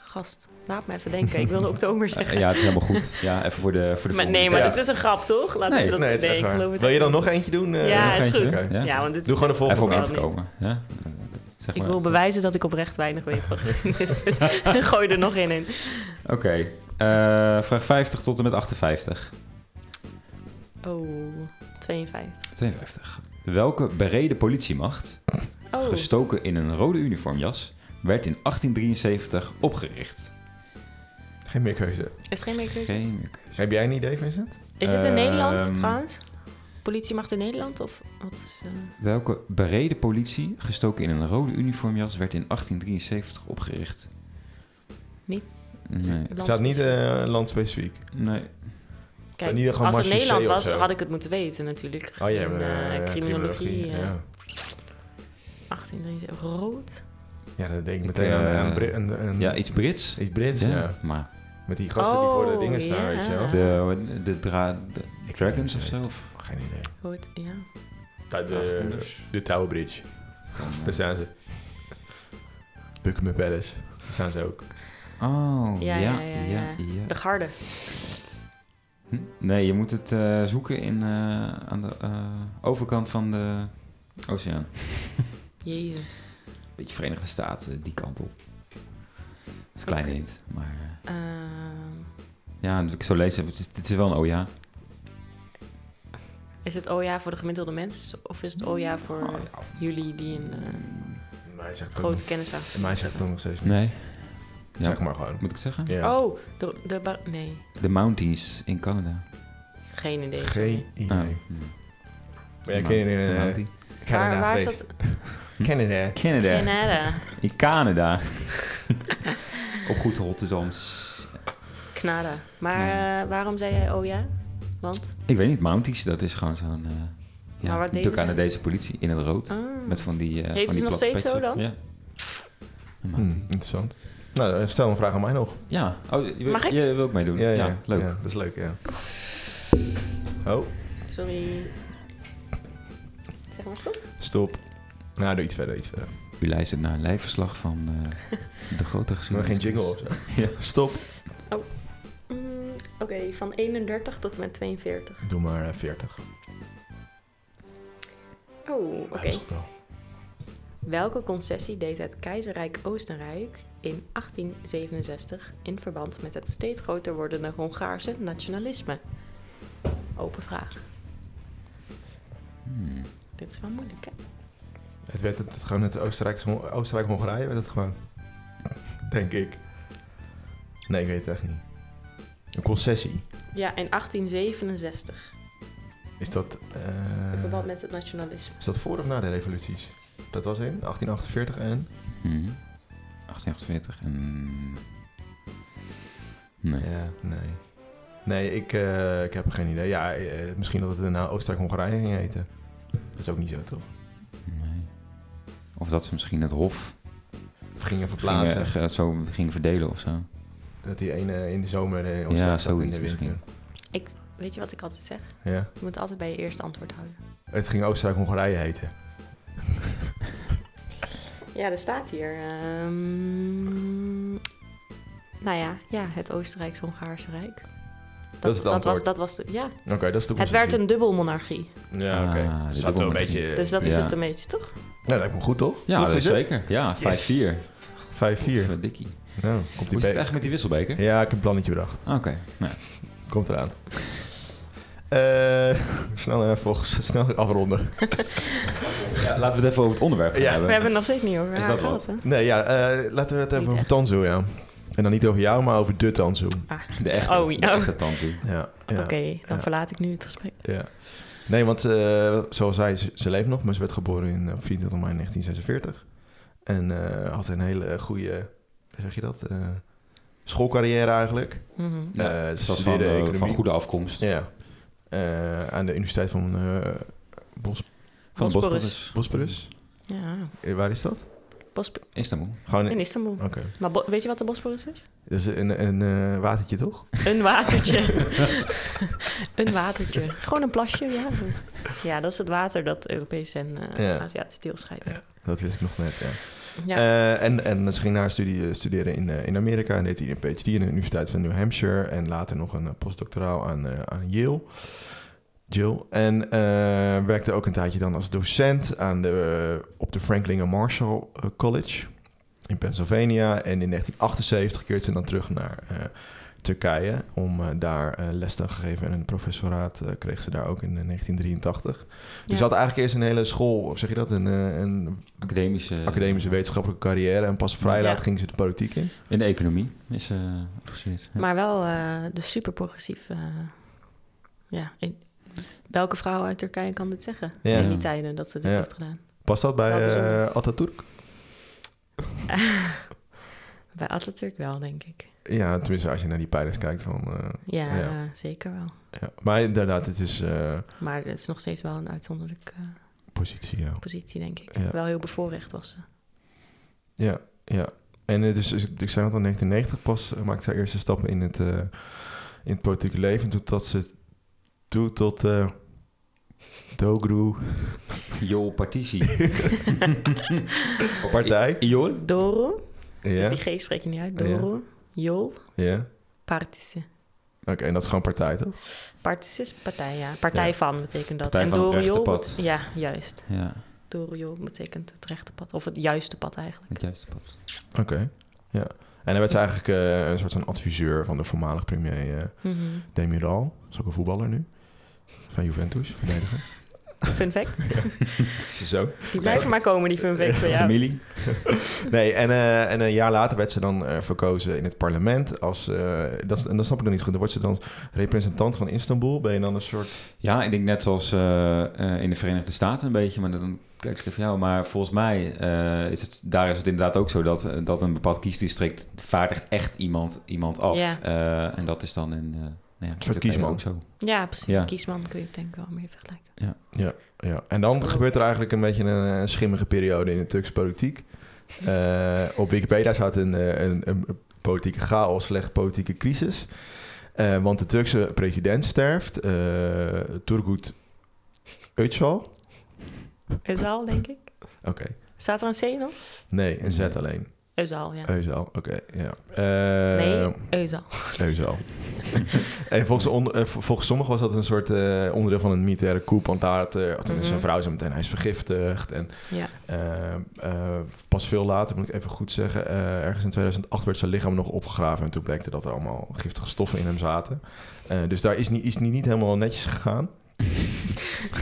Gast, laat me even denken. Ik (laughs) wilde oktober Eh, zeggen. ja, het is helemaal goed. Ja, even voor de, voor de Maar, volgende. nee, maar Ja. dit is een grap, toch? Laat Nee, me dat nee, het is echt ik waar. geloof het Wil je echt dan nog eentje doen? eh? Ja, Nog is eentje, goed. hè? Ja. Ja, want dit Doe gewoon de Even om volgende. aan dat te wil ik komen. Ja? Zeg niet. Ik maar. wil bewijzen dat ik oprecht weinig weet (laughs) van geschiedenis. (laughs) Dus gooi er nog één in. Oké, eh, vraag 50 tot en met 58. Oh, 52. 52. Welke bereden politiemacht, Oh, gestoken in een rode uniformjas, werd in 1873 opgericht? Geen meer keuze. is geen meer keuze. Geen meer keuze. Heb jij een idee, Vincent? Is het in Ehm, Nederland trouwens? Politiemacht in Nederland? Of wat is... eh, Welke bereden politie, gestoken in een rode uniformjas, werd in 1873 opgericht? Niet- Nee. Het staat niet landspecifiek? eh, landspecifiek. nee. Kijk, niet als het Nederland was, had ik het moeten weten natuurlijk. Gezien, oh, ja, maar, eh, uh, criminologie. Uh, ja. 18 rood. Ja, dat denk ik meteen aan uh, een, Brit, een, een, Ja, iets Brits. Iets Brits, ja. ja. Maar... Met die gasten oh, die voor de dingen staan, weet je wel. De, de, dra de Dragons of zo? Geen idee. Rood, ja. De, de, de Tower Bridge. eh. Daar staan ze. Buckingham Palace. Daar staan ze ook. Oh, ja, ja, ja. De garde. Hm? Nee, je moet het uh, zoeken in, uh, aan de uh, overkant van de oceaan. Jezus. Beetje Verenigde Staten, die kant op. Dat is een kleine hint, maar... eh, Ehm, Ja, als ik zo lees, het is, het is wel een OJA. Is het OJA voor de gemiddelde mens? Of is het OJA voor oh, ja. jullie die een eh, grote kennis achter Mij zegt dat nog steeds niet. Nee. Ja, zeg maar gewoon. Moet ik zeggen? Yeah. Oh, de, de bar nee. De Mounties in Canada. Geen idee. Geen idee. Ah, nee. ja, Canada. Waar, waar is dat? (laughs) Canada. Canada. Canada. In Canada. Op goed Rotterdams. Knada. Maar nee. uh, waarom zei jij oh ja? Want? Ik weet niet, Mounties, dat is gewoon zo'n... Uh, ja, maar wat de Canadese politie in het rood. Ah. Met van die... Uh, Oh. Heet van die nog steeds zo dan? Ja. Hmm, interessant. Nou, stel een vraag aan mij nog. Ja, oh, je, wil, Mag ik? je wil ook meedoen. Ja, ja, ja leuk. Ja, dat is leuk, ja. Oh. Sorry. Zeg maar stop. Stop. Nou, doe iets verder, iets verder. U luistert naar een lijfverslag van uh, de grote geschiedenis. Maar geen jingle of zo. (laughs) ja. Stop. Oh. Mm, Oké, okay, van 31 tot en met 42. Doe maar uh, 40. Oh, Ah, oké. Okay. Welke concessie deed het keizerrijk Oostenrijk in 1867 in verband met het steeds groter wordende Hongaarse nationalisme? Open vraag. Hmm. Dit is wel moeilijk, hè? Het werd het, gewoon het Oostenrijk-Hongarije, Oostenrijk werd het gewoon. Denk ik. Nee, ik weet het echt niet. Een concessie? Ja, in 1867. Is dat... Uh, in verband met het nationalisme. Is dat voor of na de revoluties? Dat was in 1848 en... Hmm. 1848 en... Nee. Ja, nee. Nee, ik, uh, ik heb geen idee. Ja, uh, misschien dat het daarna Oostenrijk-Hongarije ging heten. Dat is ook niet zo, toch? Nee. Of dat ze misschien het hof... Gingen verplaatsen. Gingen, eh, zo gingen verdelen of zo. Dat die ene in de zomer de Oostenrijk ja, zoiets in de winter. Misschien. Ik, weet je wat ik altijd zeg? Ja? Je moet altijd bij je eerste antwoord houden. Het ging Oostenrijk-Hongarije heten. Ja, er staat hier. Um, nou ja, ja, het Oostenrijks-Hongaarse Rijk. Dat, dat, is het antwoord. Dat was, dat was de, ja. Oké, okay, dat is de Het werd een dubbelmonarchie. Ja, oké. Okay. Ah, dus dat een beetje... Dus dat ja. is het een beetje, toch? Ja, dat lijkt me goed, toch? Ja, dat is zeker. Ja, 5-4. 5-4. Dikkie. Nou, komt die Hoe echt met die wisselbeker? Ja, ik heb een plannetje bedacht. Oké, okay. nou. Komt eraan. (laughs) Uh, snel even volgens, snel afronden. ja, laten we het even over het onderwerp ja. hebben. We hebben het nog steeds niet over. Is dat wat? Nee, ja, uh, laten we het even niet over Tanzu, ja. En dan niet over jou, maar over de Tanzu. Ah, de echte, oh, de echte Tanzu. Ja, ja Oké, okay, dan verlaat ik nu het gesprek. Ja. Nee, want uh, zoals zij, ze, ze leeft nog, maar ze werd geboren in, op 24 mei 1946. En eh, had een hele goede, zeg je dat? Eh, schoolcarrière eigenlijk. Eh, Mm -hmm. ze was van, de van goede afkomst. Ja. Uh, aan de Universiteit van uh, Bos... Van Bosporus. Bosporus? Ja. Uh, waar is dat? Bos... Istanbul. Gewoon in, in Istanbul. Oké. Okay. Maar weet je wat de Bosporus is? Dat is een, een watertje, toch? Een (laughs) watertje. een watertje. Gewoon een plasje, ja. Ja, dat is het water dat Europees en ja. Aziatisch deel scheidt. Ja, Eh, dat wist ik nog net, ja. ja. Eh, en, en ze ging naar studie, eh, studeren in, in Amerika en deed hier een PhD aan de Universiteit van New Hampshire en later nog een eh, postdoctoraal aan, eh, aan Yale. Jill. En uh, werkte ook een tijdje dan als docent aan de, uh, op de Franklin and Marshall eh, College in Pennsylvania. En in 1978 keert ze dan terug naar uh, Turkije om eh, daar les te geven. En een professoraat eh, kreeg ze daar ook in 1983. Ja. Dus ze had eigenlijk eerst een hele school, of zeg je dat, een, eh, een academische, academische wetenschappelijke carrière. En pas vrij laat ja. ging ze de politiek in. In de economie is eh, ze afgestudeerd. Ja. Maar wel eh, de super progressieve... ja, Welke vrouw uit Turkije kan dit zeggen? Ja. In die tijden dat ze dit ja. eh, heeft gedaan. Past dat bij dat uh, Atatürk? Bij Atatürk wel, denk ik. Ja, tenminste als je naar die pijlers kijkt. Van, uh, ja, ja, zeker wel. Ja. Maar inderdaad, het is... Uh, maar het is nog steeds wel een eh, uitzonderlijke positie, ja. positie, denk ik. Ja. Wel heel bevoorrecht was ze. Ja, ja. En uh, dus, ik zei al, in 1990 pas maakte zij eerste stappen in het, eh, in het politieke leven. En toen dat ze toe tot... eh, Dogru. Jol Partici. Partij. Jol. Doro. Ja. Dus die G spreek je niet uit. Doro. Ja. Jol. Ja. Partice. Oké, okay, en dat is gewoon partij, toch? Partice is partij, ja. Partij ja. van betekent dat. Partij en van Doro het rechte pad. Ja, juist. Ja. Doro Jol betekent het rechte pad. Of het juiste pad eigenlijk. Het juiste pad. Oké, okay. ja. En hij werd ze eigenlijk uh, een soort van adviseur van de voormalig premier uh, mm Mhm. -hmm. Demiral. Dat is ook een voetballer nu van Juventus, verdediger. Fun fact. Ja. Zo. Die blijven ja. maar komen, die fun facts bij jou. Familie. nee, en, uh, en een jaar later werd ze dan uh, verkozen in het parlement. Als, uh, dat, en dat snap ik nog niet goed. Dan wordt ze dan representant van Istanbul. Ben je dan een soort... Ja, ik denk net zoals eh, in de Verenigde Staten een beetje. Maar dan kijk ik even jou. Maar volgens mij eh, is het... Daar is het inderdaad ook zo dat, eh, dat een bepaald kiesdistrict... vaardigt echt iemand, iemand af. Ja. en dat is dan in... eh, nou Nee, een soort kiesman. Ook zo. Ja, precies. Ja. Kiesman kun je het denk ik wel meer vergelijken. Ja, ja, ja. En dan Brood. gebeurt er eigenlijk een beetje een, een schimmige periode in de Turkse politiek. uh, op Wikipedia staat een, eh, een, een, politieke chaos, slecht politieke crisis. Uh, want de Turkse president sterft, uh, Turgut Özal. Özal, denk ik. Oké. Okay. Staat er een C nog? Nee, een Z alleen. Euzal, ja. Euzal, oké, okay, ja. Uh, nee, Euzal. (laughs) Euzal. en volgens, on, uh, volgens sommigen was dat een soort uh, onderdeel van een militaire coup, want daar had, mm Mhm. -hmm. zijn vrouw zo meteen, hij is vergiftigd. En ehm, eh, ja. pas veel later, moet ik even goed zeggen, eh, ergens in 2008 werd zijn lichaam nog opgegraven en toen bleek dat er allemaal giftige stoffen in hem zaten. dus daar is niet, is niet, niet helemaal netjes gegaan.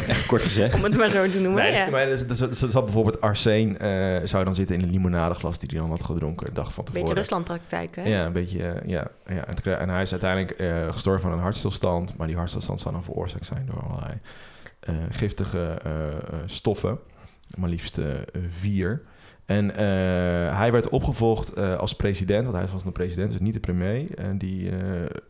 Echt kort gezegd. (laughs) Om het maar zo te noemen. Nee, ja. dus, dus, dus, dus, bijvoorbeeld arsen, uh, zou dan zitten in een limonadeglas die hij dan had gedronken de dag van tevoren. Beetje Ruslandpraktijk, hè? Ja, een beetje, uh, ja. ja. En, en, hij is uiteindelijk uh, gestorven van een hartstilstand, maar die hartstilstand zou dan veroorzaakt zijn door allerlei eh, giftige eh, stoffen, maar liefst eh, vier. En eh, hij werd opgevolgd eh, als president, want hij was de president, dus niet de premier, en die eh,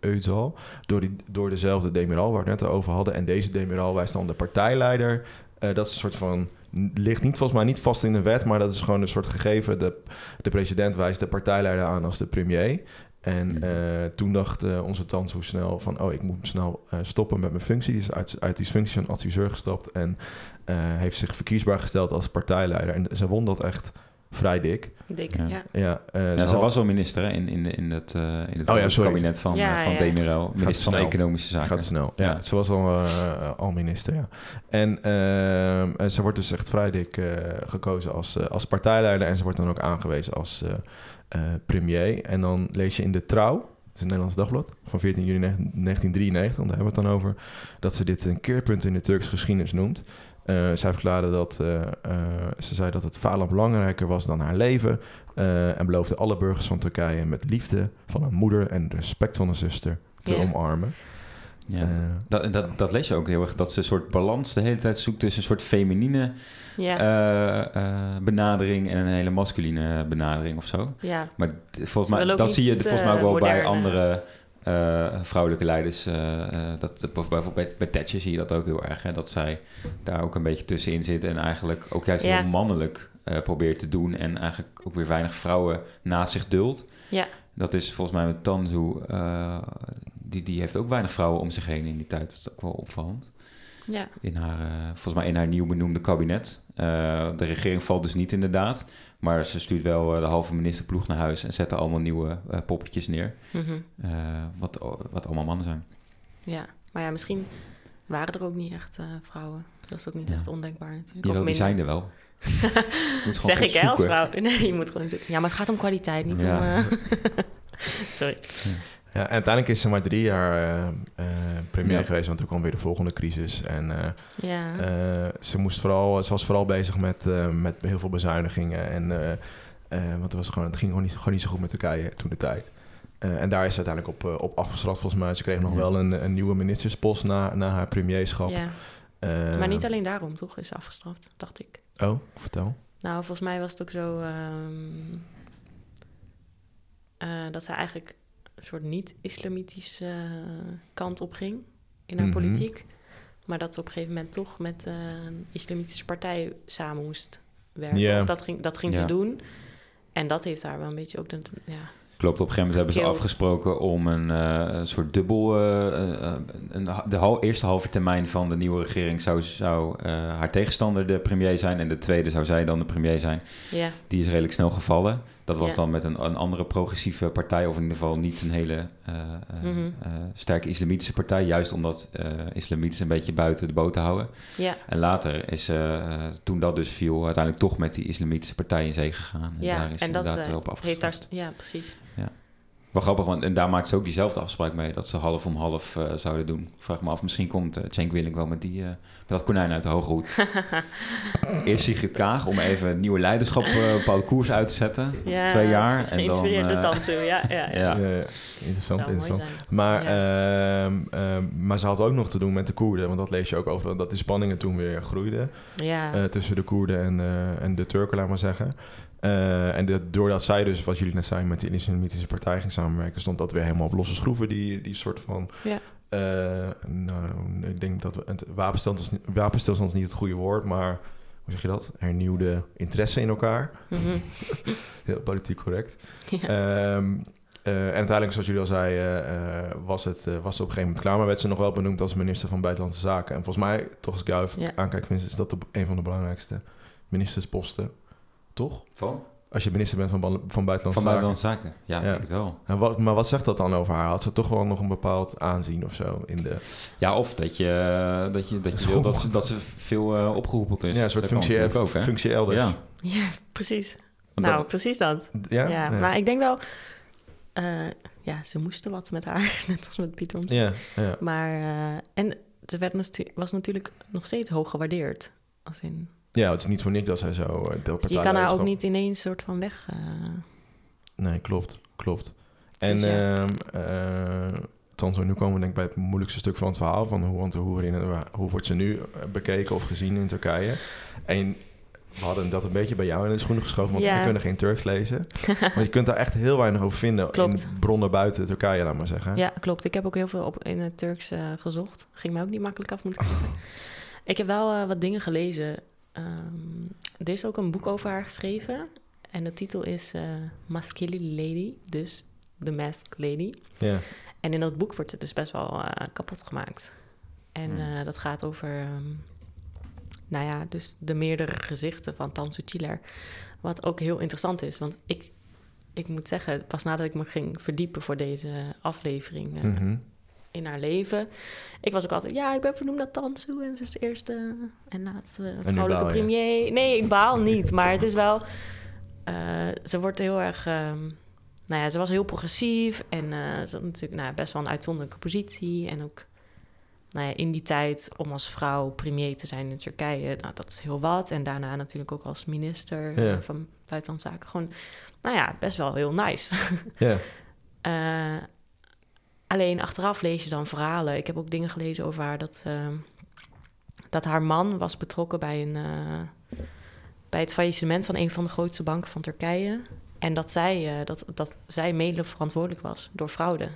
Euzal, door, die, door dezelfde Demiral waar we het net over hadden. En deze Demiral wijst dan de partijleider. Eh, dat is een soort van, ligt niet volgens mij niet vast in de wet, maar dat is gewoon een soort gegeven. De, de president wijst de partijleider aan als de premier. Mhm. En eh, toen dacht onze tante zo snel van... oh, ik moet snel stoppen met mijn functie. Die is uit, uit die functie een adviseur gestapt... en eh, heeft zich verkiesbaar gesteld als partijleider. En ze won dat echt vrij dik. Eh, Dik, ja. ja. ja, uh, ja ze, ze, was al minister hè, in, in, in het, uh, in het oh, ja, kabinet van, uh, van Demirel. Minister van Economische Zaken. Gaat snel, ja. Ze was al, eh, al minister, ja. En ze wordt dus echt vrij dik gekozen als, als partijleider... en ze wordt dan ook aangewezen als eh, premier. En dan lees je in de Trouw... Het is een Nederlands dagblad van 14 juni 1993, want daar hebben we het dan over. Dat ze dit een keerpunt in de Turkse geschiedenis noemt. Uh, zij verklaarde dat uh, uh, ze zei dat het falen belangrijker was dan haar leven. eh, en beloofde alle burgers van Turkije met liefde van een moeder en respect van een zuster te yeah. omarmen. Ja. Eh, dat, dat, dat lees je ook heel erg, dat ze een soort balans de hele tijd zoekt tussen een soort feminine Eh, yeah. eh, benadering en een hele masculine benadering of zo. Yeah. Maar volgens mij, dat zie je volgens mij ook wel moderne. bij andere uh, vrouwelijke leiders. Uh, uh, dat, bijvoorbeeld bij, bij Thatcher zie je dat ook heel erg. Hè? Dat zij daar ook een beetje tussenin zit. En eigenlijk ook juist ja. heel mannelijk eh, probeert te doen. En eigenlijk ook weer weinig vrouwen naast zich duldt. Ja. Dat is volgens mij met Tanzu. eh, die, die heeft ook weinig vrouwen om zich heen in die tijd. Dat is ook wel opvallend. Ja. In haar, eh, volgens mij in haar nieuw benoemde kabinet. Eh, de regering valt dus niet inderdaad. Maar ze stuurt wel eh, de halve ministerploeg naar huis en zetten allemaal nieuwe uh, poppetjes neer. Mm -hmm. uh, wat, wat allemaal mannen zijn. Ja, maar ja, misschien waren er ook niet echt uh, vrouwen. Dat is ook niet ja. echt ondenkbaar natuurlijk. Ja, wel, die zijn (laughs) er wel. zeg ik hè, als vrouw. (laughs) Nee, je moet gewoon zoeken. Ja, maar het gaat om kwaliteit, niet ja. om... eh, (laughs) (laughs) Sorry. Ja, en uiteindelijk is ze maar drie jaar uh, uh, premier ja. geweest, want toen kwam weer de volgende crisis. En uh, ja. Eh, ze, moest vooral, ze was vooral bezig met, eh, met heel veel bezuinigingen. En, eh, want het, was gewoon, het ging gewoon niet, gewoon niet zo goed met Turkije toen de tijd. Eh, en daar is ze uiteindelijk op, op afgestraft, volgens mij. Ze kreeg nog wel een, een nieuwe ministerspost na, na haar premierschap. Eh, Eh, maar niet alleen daarom, toch? Is ze afgestraft, dacht ik. Oh, vertel. Nou, volgens mij was het ook zo. Um ehm, eh, dat zij eigenlijk een soort niet-islamitische eh, kant op ging in Mhm. haar politiek. Maar dat ze op een gegeven moment toch met eh, een islamitische partij samen moest werken. Ja. Of dat ging, dat ging Ja. ze doen. En dat heeft haar wel een beetje ook... De, ja, Klopt, op een gegeven moment hebben ze Heel- afgesproken om een, eh, een soort dubbel... eh, eh, eh, een, de hal- eerste halve termijn van de nieuwe regering zou, zou eh, haar tegenstander de premier zijn... en de tweede zou zij dan de premier zijn. ja, Die is redelijk snel gevallen. Dat was Ja. dan met een, een andere progressieve partij... of in ieder geval niet een hele eh, eh, Mhm. eh, sterke islamitische partij... juist omdat eh islamieten een beetje buiten de boot te houden. ja, En later is, eh, toen dat dus viel... uiteindelijk toch met die islamitische partij in zee gegaan. En ja. daar is en dat inderdaad eh, wel op heeft afgestapt. daar... Ja, precies. Wel grappig, want en daar maakt ze ook diezelfde afspraak mee... dat ze half om half eh, zouden doen. Ik Vraag me af, misschien komt eh Cenk Willink wel met, die, eh, met dat konijn uit de hoge hoed. Eerst Sigrid Kaag om even het nieuwe leiderschap eh, een bepaalde koers uit te zetten. Ja, Twee jaar precies, en dan, geïnspireerd door eh, Tansu, ja. ja, ja. (laughs) Ja. Ja, ja. Interessant, Zou mooi interessant. zijn. Maar, ehm, ehm, maar ze had ook nog te doen met de Koerden. Want dat lees je ook over dat die spanningen toen weer groeiden. Ja, eh, tussen de Koerden en, eh, en de Turken, laat maar zeggen. Eh, en dat- doordat zij dus, wat jullie net zeiden, met die islamitische partij ging samenwerken, stond dat weer helemaal op losse schroeven, die, die soort van... Ja. eh, nou, ik denk dat we, het wapenstilstand, is- wapenstilstand is niet het goede woord, maar hoe zeg je dat? Hernieuwde interesse in elkaar. Eh, mhm. Heel politiek correct. Ja. Ehm, eh, en uiteindelijk, zoals jullie al zeiden, eh, eh, was, het, eh, was ze op een gegeven moment klaar. Maar werd ze nog wel benoemd als minister van Buitenlandse Zaken. En volgens mij, toch als ik jou even Ja. aankijk, Vincent, is dat de- een van de belangrijkste ministersposten. Toch? Van? Als je minister bent van, ban- van Buitenlandse Van Zaken. buitenlandse zaken. Ja, ik Ja. denk het wel. En wat, maar wat zegt dat dan over haar? Had ze toch wel nog een bepaald aanzien of zo? In de, Ja, of dat je, eh, dat je, dat je Schoon. wil dat ze, dat ze veel eh opgeroepeld is. ja, een soort Dat kan functie, natuurlijk ook, hè? functie elders. Ja. ja, precies. Want nou, dat- precies dat. Ja? Ja, Ja. maar ik denk wel... eh, ja, ze moesten wat met haar, (laughs) net als met Piet Omtzigt. ja, ja. Maar... eh, en ze werd natu- was natuurlijk nog steeds hoog gewaardeerd. Als in, ja, het is niet voor niks dat zij zo... eh, dat dus je kan haar partijleiderschap- ook niet ineens soort van weg... eh, Nee, klopt. Klopt. En Dus ehm ja. eh, Tanzo, nu komen we denk ik bij het moeilijkste stuk van het verhaal... van hoe, want hoe, waarin- waar- hoe wordt ze nu eh, bekeken of gezien in Turkije. En we hadden dat een beetje bij jou in de schoenen geschoven... want Ja. we kunnen geen Turks lezen. Want je kunt daar echt heel weinig over vinden... Klopt. in bronnen buiten Turkije, laat maar zeggen. Ja, klopt. Ik heb ook heel veel op, in het Turks eh, gezocht. Ging mij ook niet makkelijk af, moet ik zeggen. Ik heb wel eh, wat dingen gelezen. Ehm, er is ook een boek over haar geschreven. En de titel is eh Maskeli Lady, dus The Mask Lady. Ja. En in dat boek wordt het dus best wel eh, kapot gemaakt. En Hmm. eh, dat gaat over, ehm, nou ja, dus de meerdere gezichten van Tansu Çiller. Wat ook heel interessant is, want ik, ik moet zeggen, pas nadat ik me ging verdiepen voor deze aflevering eh, Mhm. in haar leven. Ik was ook altijd, ja, ik ben vernoemd naar Tansu en ze is de eerste en laatste vrouwelijke baal je. premier. Nee, ik baal niet, maar het is wel, eh, ze wordt heel erg, ehm, nou ja, ze was heel progressief en eh, ze had natuurlijk nou, best wel een uitzonderlijke positie en ook nou ja, in die tijd om als vrouw premier te zijn in Turkije, nou, dat is heel wat. En daarna natuurlijk ook als minister Ja. eh, van Buitenlandse Zaken. Gewoon, nou ja, best wel heel nice. ja. Eh, alleen achteraf lees je dan verhalen. Ik heb ook dingen gelezen over haar dat, eh, dat haar man was betrokken bij, een, eh, bij het faillissement van een van de grootste banken van Turkije. En dat zij, eh, dat, dat zij mede verantwoordelijk was door fraude.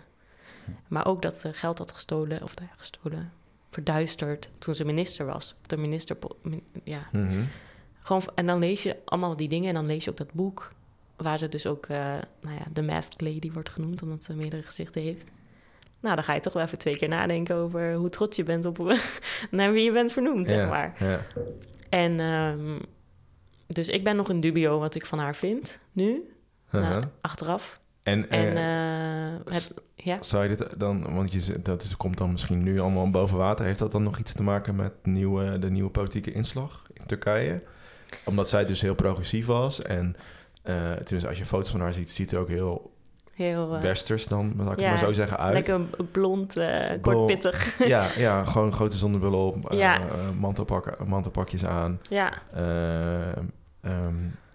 Maar ook dat ze geld had gestolen, of nou ja, gestolen, verduisterd toen ze minister was. Op de minister, ja, Mhm. gewoon, en dan lees je allemaal die dingen en dan lees je ook dat boek. Waar ze dus ook, eh, nou ja, de Masked Lady wordt genoemd, omdat ze meerdere gezichten heeft. Nou, dan ga je toch wel even twee keer nadenken over hoe (laughs) trots je bent op naar wie je bent vernoemd, Ja, zeg maar. ja. En ehm, dus ik ben nog in dubio wat ik van haar vind, nu, Aha. nou, achteraf. Uh-huh. En, eh, En eh, het, s- ja, zou je dit dan, want je, zegt dat is, komt dan misschien nu allemaal boven water, heeft dat dan nog iets te maken met nieuwe, de nieuwe politieke inslag in Turkije? Omdat zij dus heel progressief was en eh tenminste als je foto's van haar ziet, ziet er ook heel heel eh, westers dan, laat ik het Ja, maar zo zeggen, uit. lekker blond, eh Blond. (laughs) kortpittig. Ja, ja, gewoon grote zonnebril op, eh, Ja. eh, mantelpakken, mantelpakjes aan. Ja, eh, ehm,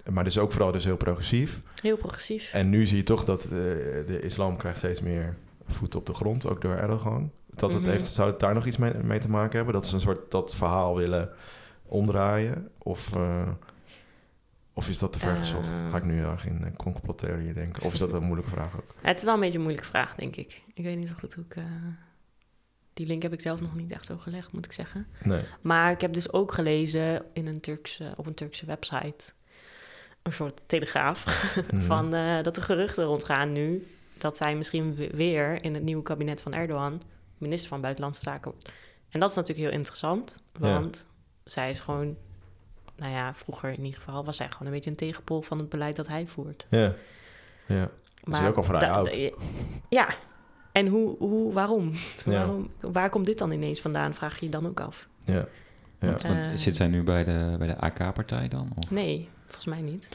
maar dus ook vooral dus heel progressief. heel progressief. En nu zie je toch dat eh, de islam krijgt steeds meer voet op de grond, ook door Erdogan. Dat het Mhm. heeft, zou het daar nog iets mee, mee te maken hebben? Dat ze een soort dat verhaal willen omdraaien? Of eh, Of is dat te ver gezocht? Ga ik nu heel erg in uh, complottheorie denken? Of is dat een moeilijke vraag ook? Het is wel een beetje een moeilijke vraag, denk ik. Ik weet niet zo goed hoe ik... Uh, die link heb ik zelf nog niet echt zo gelegd, moet ik zeggen. Nee. Maar ik heb dus ook gelezen in een Turkse, op een Turkse website... een soort telegraaf... (laughs) Mm. van, uh, dat er geruchten rondgaan nu... dat zij misschien weer in het nieuwe kabinet van Erdogan... minister van Buitenlandse Zaken wordt. En dat is natuurlijk heel interessant, want ja. zij is gewoon nou ja, vroeger in ieder geval, was hij gewoon een beetje een tegenpol van het beleid dat hij voert. Ja, ja. Maar is ook al vrij da, oud. Da, ja, en hoe, hoe waarom? Ja. waarom? Waar komt dit dan ineens vandaan, vraag je je dan ook af. Ja. ja. Want, want uh, zit zij nu bij de, bij de AK-partij dan? Of? Nee, volgens mij niet.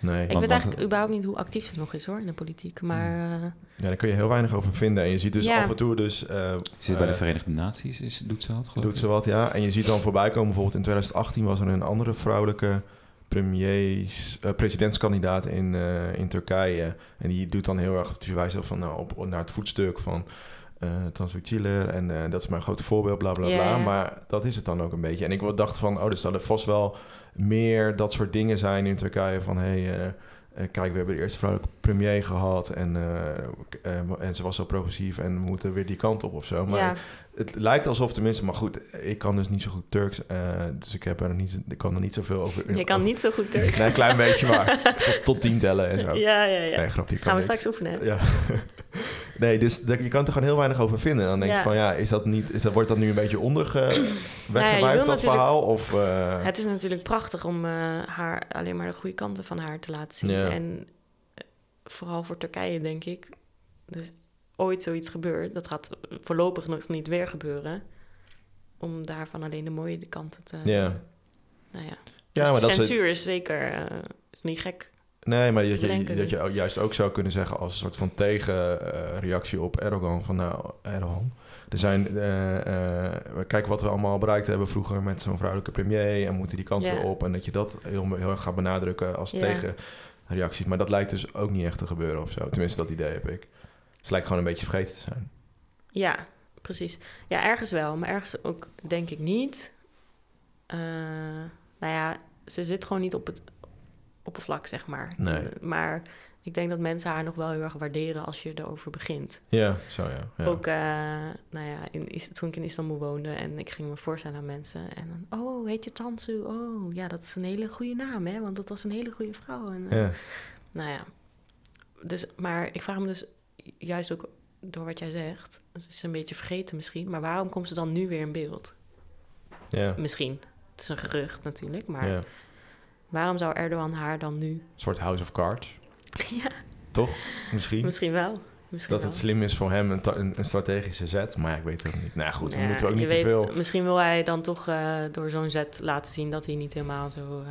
Nee. Ik want, weet eigenlijk want, überhaupt niet hoe actief ze nog is hoor, in de politiek. Hmm. Maar, eh, ja, daar kun je heel weinig over vinden. En je ziet dus ja. af en toe dus... Uh, ze zit uh, bij de Verenigde Naties, is, doet ze wat Doet ze wat, ja. En je ziet dan voorbij komen, bijvoorbeeld in 2018 was er een andere vrouwelijke premiers, uh, presidentskandidaat in, eh, in Turkije. En die doet dan heel erg, die wijst van, nou, op, naar het voetstuk van... eh, Uh, en dat is mijn grote voorbeeld, bla bla yeah. bla. Maar dat is het dan ook een beetje. En ik dacht van, oh, dus dat er vast wel meer dat soort dingen zijn in Turkije. Van hé, hey, uh, uh, kijk, we hebben de eerste vrouwelijke premier gehad. En, uh, en ze was zo progressief en we moeten weer die kant op of zo. Oh, Maar ja. het lijkt alsof tenminste, maar goed, ik kan dus niet zo goed Turks. dus ik, heb er niet, ik kan er niet zoveel over. Je kan over, niet zo goed Turks. Nee, een klein beetje (laughs) maar. tot, tot, tien tellen en zo. Ja, ja, ja. Nee, grapje, Gaan we straks oefenen. Ja. (laughs) nee, dus je kan er gewoon heel weinig over vinden. En dan denk ik ja. van ja, is dat niet, is dat, wordt dat nu een beetje onder (clears throat) nou ja, dat verhaal? Of, uh... Het is natuurlijk prachtig om uh, haar alleen maar de goede kanten van haar te laten zien. Ja. En uh, vooral voor Turkije, denk ik. Dus ooit zoiets gebeurt, dat gaat voorlopig nog niet weer gebeuren. Om daarvan alleen de mooie kanten te. Ja. Nou ja. Dus ja maar dat censuur ze... is zeker eh, is niet gek. Nee, maar dat je, dat dus. je juist ook zou kunnen zeggen als een soort van tegenreactie uh, op Erdogan. Van nou, Erdogan, er zijn, uh, uh, kijk wat we allemaal bereikt hebben vroeger met zo'n vrouwelijke premier. En moeten die kant yeah. op. En dat je dat heel, heel erg gaat benadrukken als yeah. tegenreactie. Maar dat lijkt dus ook niet echt te gebeuren of zo. Tenminste, dat idee heb ik. Dus het lijkt gewoon een beetje vergeten te zijn. Ja, precies. Ja, ergens wel. Maar ergens ook denk ik niet. nou ja, ze zit gewoon niet op het oppervlak, zeg maar. Nee. Maar ik denk dat mensen haar nog wel heel erg waarderen als je erover begint. Ja, zo ja. ja. Ook, uh, nou ja, in, toen ik in Istanbul woonde en ik ging me voorstellen aan mensen. En dan, oh, heet je Tansu? Oh, ja, dat is een hele goede naam, hè? Want dat was een hele goede vrouw. En, uh, ja. Nou ja. Dus, maar ik vraag me dus juist ook door wat jij zegt. Het is een beetje vergeten misschien. Maar waarom komt ze dan nu weer in beeld? Ja. Misschien. Het is een gerucht natuurlijk, maar... Ja. Waarom zou Erdogan haar dan nu... Een soort House of Cards. (laughs) ja. Toch? Misschien? Misschien wel. Misschien dat wel. het slim is voor hem een, een, een, strategische zet. Maar ik weet het niet. Nou goed, ja, dan moeten we ook niet te veel... Misschien wil hij dan toch uh, door zo'n zet laten zien... dat hij niet helemaal zo, uh,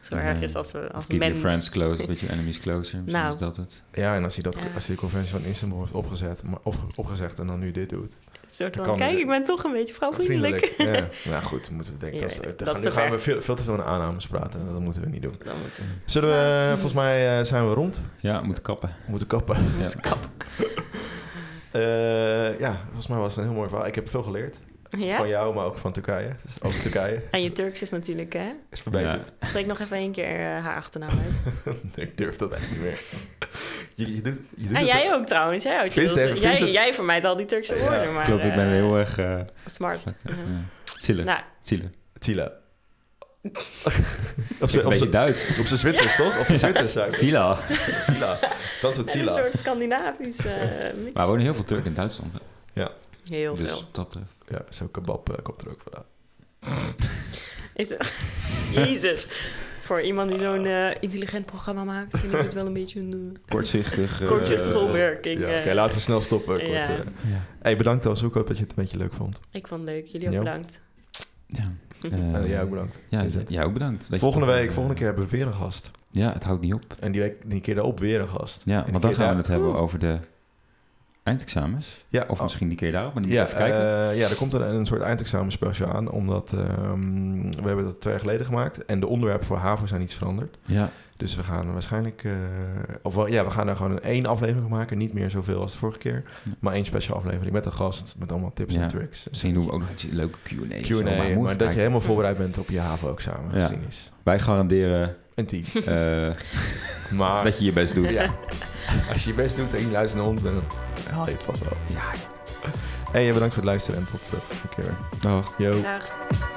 zo ja. erg is als, we, als keep men... Keep friends (laughs) close, but your enemies closer. Misschien nou. is dat het. Ja, en als hij, dat, ja. als hij de conventie van Istanbul heeft opgezet, maar op, opgezegd... en dan nu dit doet... Een soort van, kan, kijk, ik ben toch een beetje (laughs) vrouwvriendelijk. Ja. nou goed, moeten we denken. Oh, Ja, dat, dat, dat gaan, nu gaan we veel, veel, te veel aan aannames praten. En dat moeten we niet doen. Dat moeten we. Zullen we, ja. volgens mij uh, zijn we rond. Ja, moeten kappen. Moeten kappen. Ja. Moeten (laughs) kappen. uh, ja, volgens mij was het een heel mooi verhaal. Ik heb veel geleerd. Van jou, maar ook van Turkije. Dus over Turkije. En je Turks is natuurlijk, hè? Is verbeterd. Spreek nog even één keer uh, haar achternaam uit. (laughs) nee, ik durf dat echt niet meer. Je, je doet, je doet en Ah, jij ook trouwens. Jij, ook, Vist, jij, jij, jij vermijdt al die Turkse woorden. Ja, maar, klopt, ik ben uh, heel erg... Uh, smart. Nou, Chile. Uh, ja. Chile. Chile. (laughs) Op zijn, beetje Duits. Op zijn Zwitsers, toch? Op zijn Zwitsers (laughs) zijn. Tila. Tila. Dat Een soort Scandinavisch eh, mix. Maar er wonen heel veel Turken in Duitsland. Hè? Ja. Heel dus, veel. dat betreft. Ja, zo'n kebab eh, komt er ook vandaan. Is dat... (laughs) Jezus voor iemand die zo'n uh, intelligent programma maakt, vind ik het wel een beetje een... Uh, (laughs) Kortzichtig. eh, Uh, Kortzichtige opmerking. eh. Ja. Okay, laten we snel stoppen. Kort, ja. Hey, bedankt als ook hoop dat je het een beetje leuk vond. Ik vond het leuk. Jullie ook ja. bedankt. Ja. Eh, jij ook bedankt. Ja, jij ook bedankt. volgende week, volgende keer hebben we weer een gast. Ja, het houdt niet op. En die, week, die keer daarop weer een gast. Ja, want dan gaan we het hebben over de eindexamens? Ja. Of misschien die keer daarop, maar die Oh. ja, moet even kijken. Uh, ja, er komt een, een soort eindexamenspecial aan, omdat um, we hebben dat twee jaar geleden gemaakt en de onderwerpen voor HAVO zijn iets veranderd. Ja. Dus we gaan waarschijnlijk, uh, of wel, ja, we gaan daar gewoon een één aflevering maken, niet meer zoveel als de vorige keer, ja. maar één special aflevering met een gast, met allemaal tips ja. en tricks. Misschien doen we ook nog iets leuke Q&A. Q&A, maar, maar dat je helemaal voorbereid bent op je HAVO-examen. Ja. Wij garanderen en (laughs) tief. Eh, Maar dat je je best doet. ja, als je je best doet en je luistert naar ons, dan haal je het vast wel. eh, Ja. Hey, bedankt voor het luisteren en tot de eh, volgende keer weer. Oh, Yo. Graag.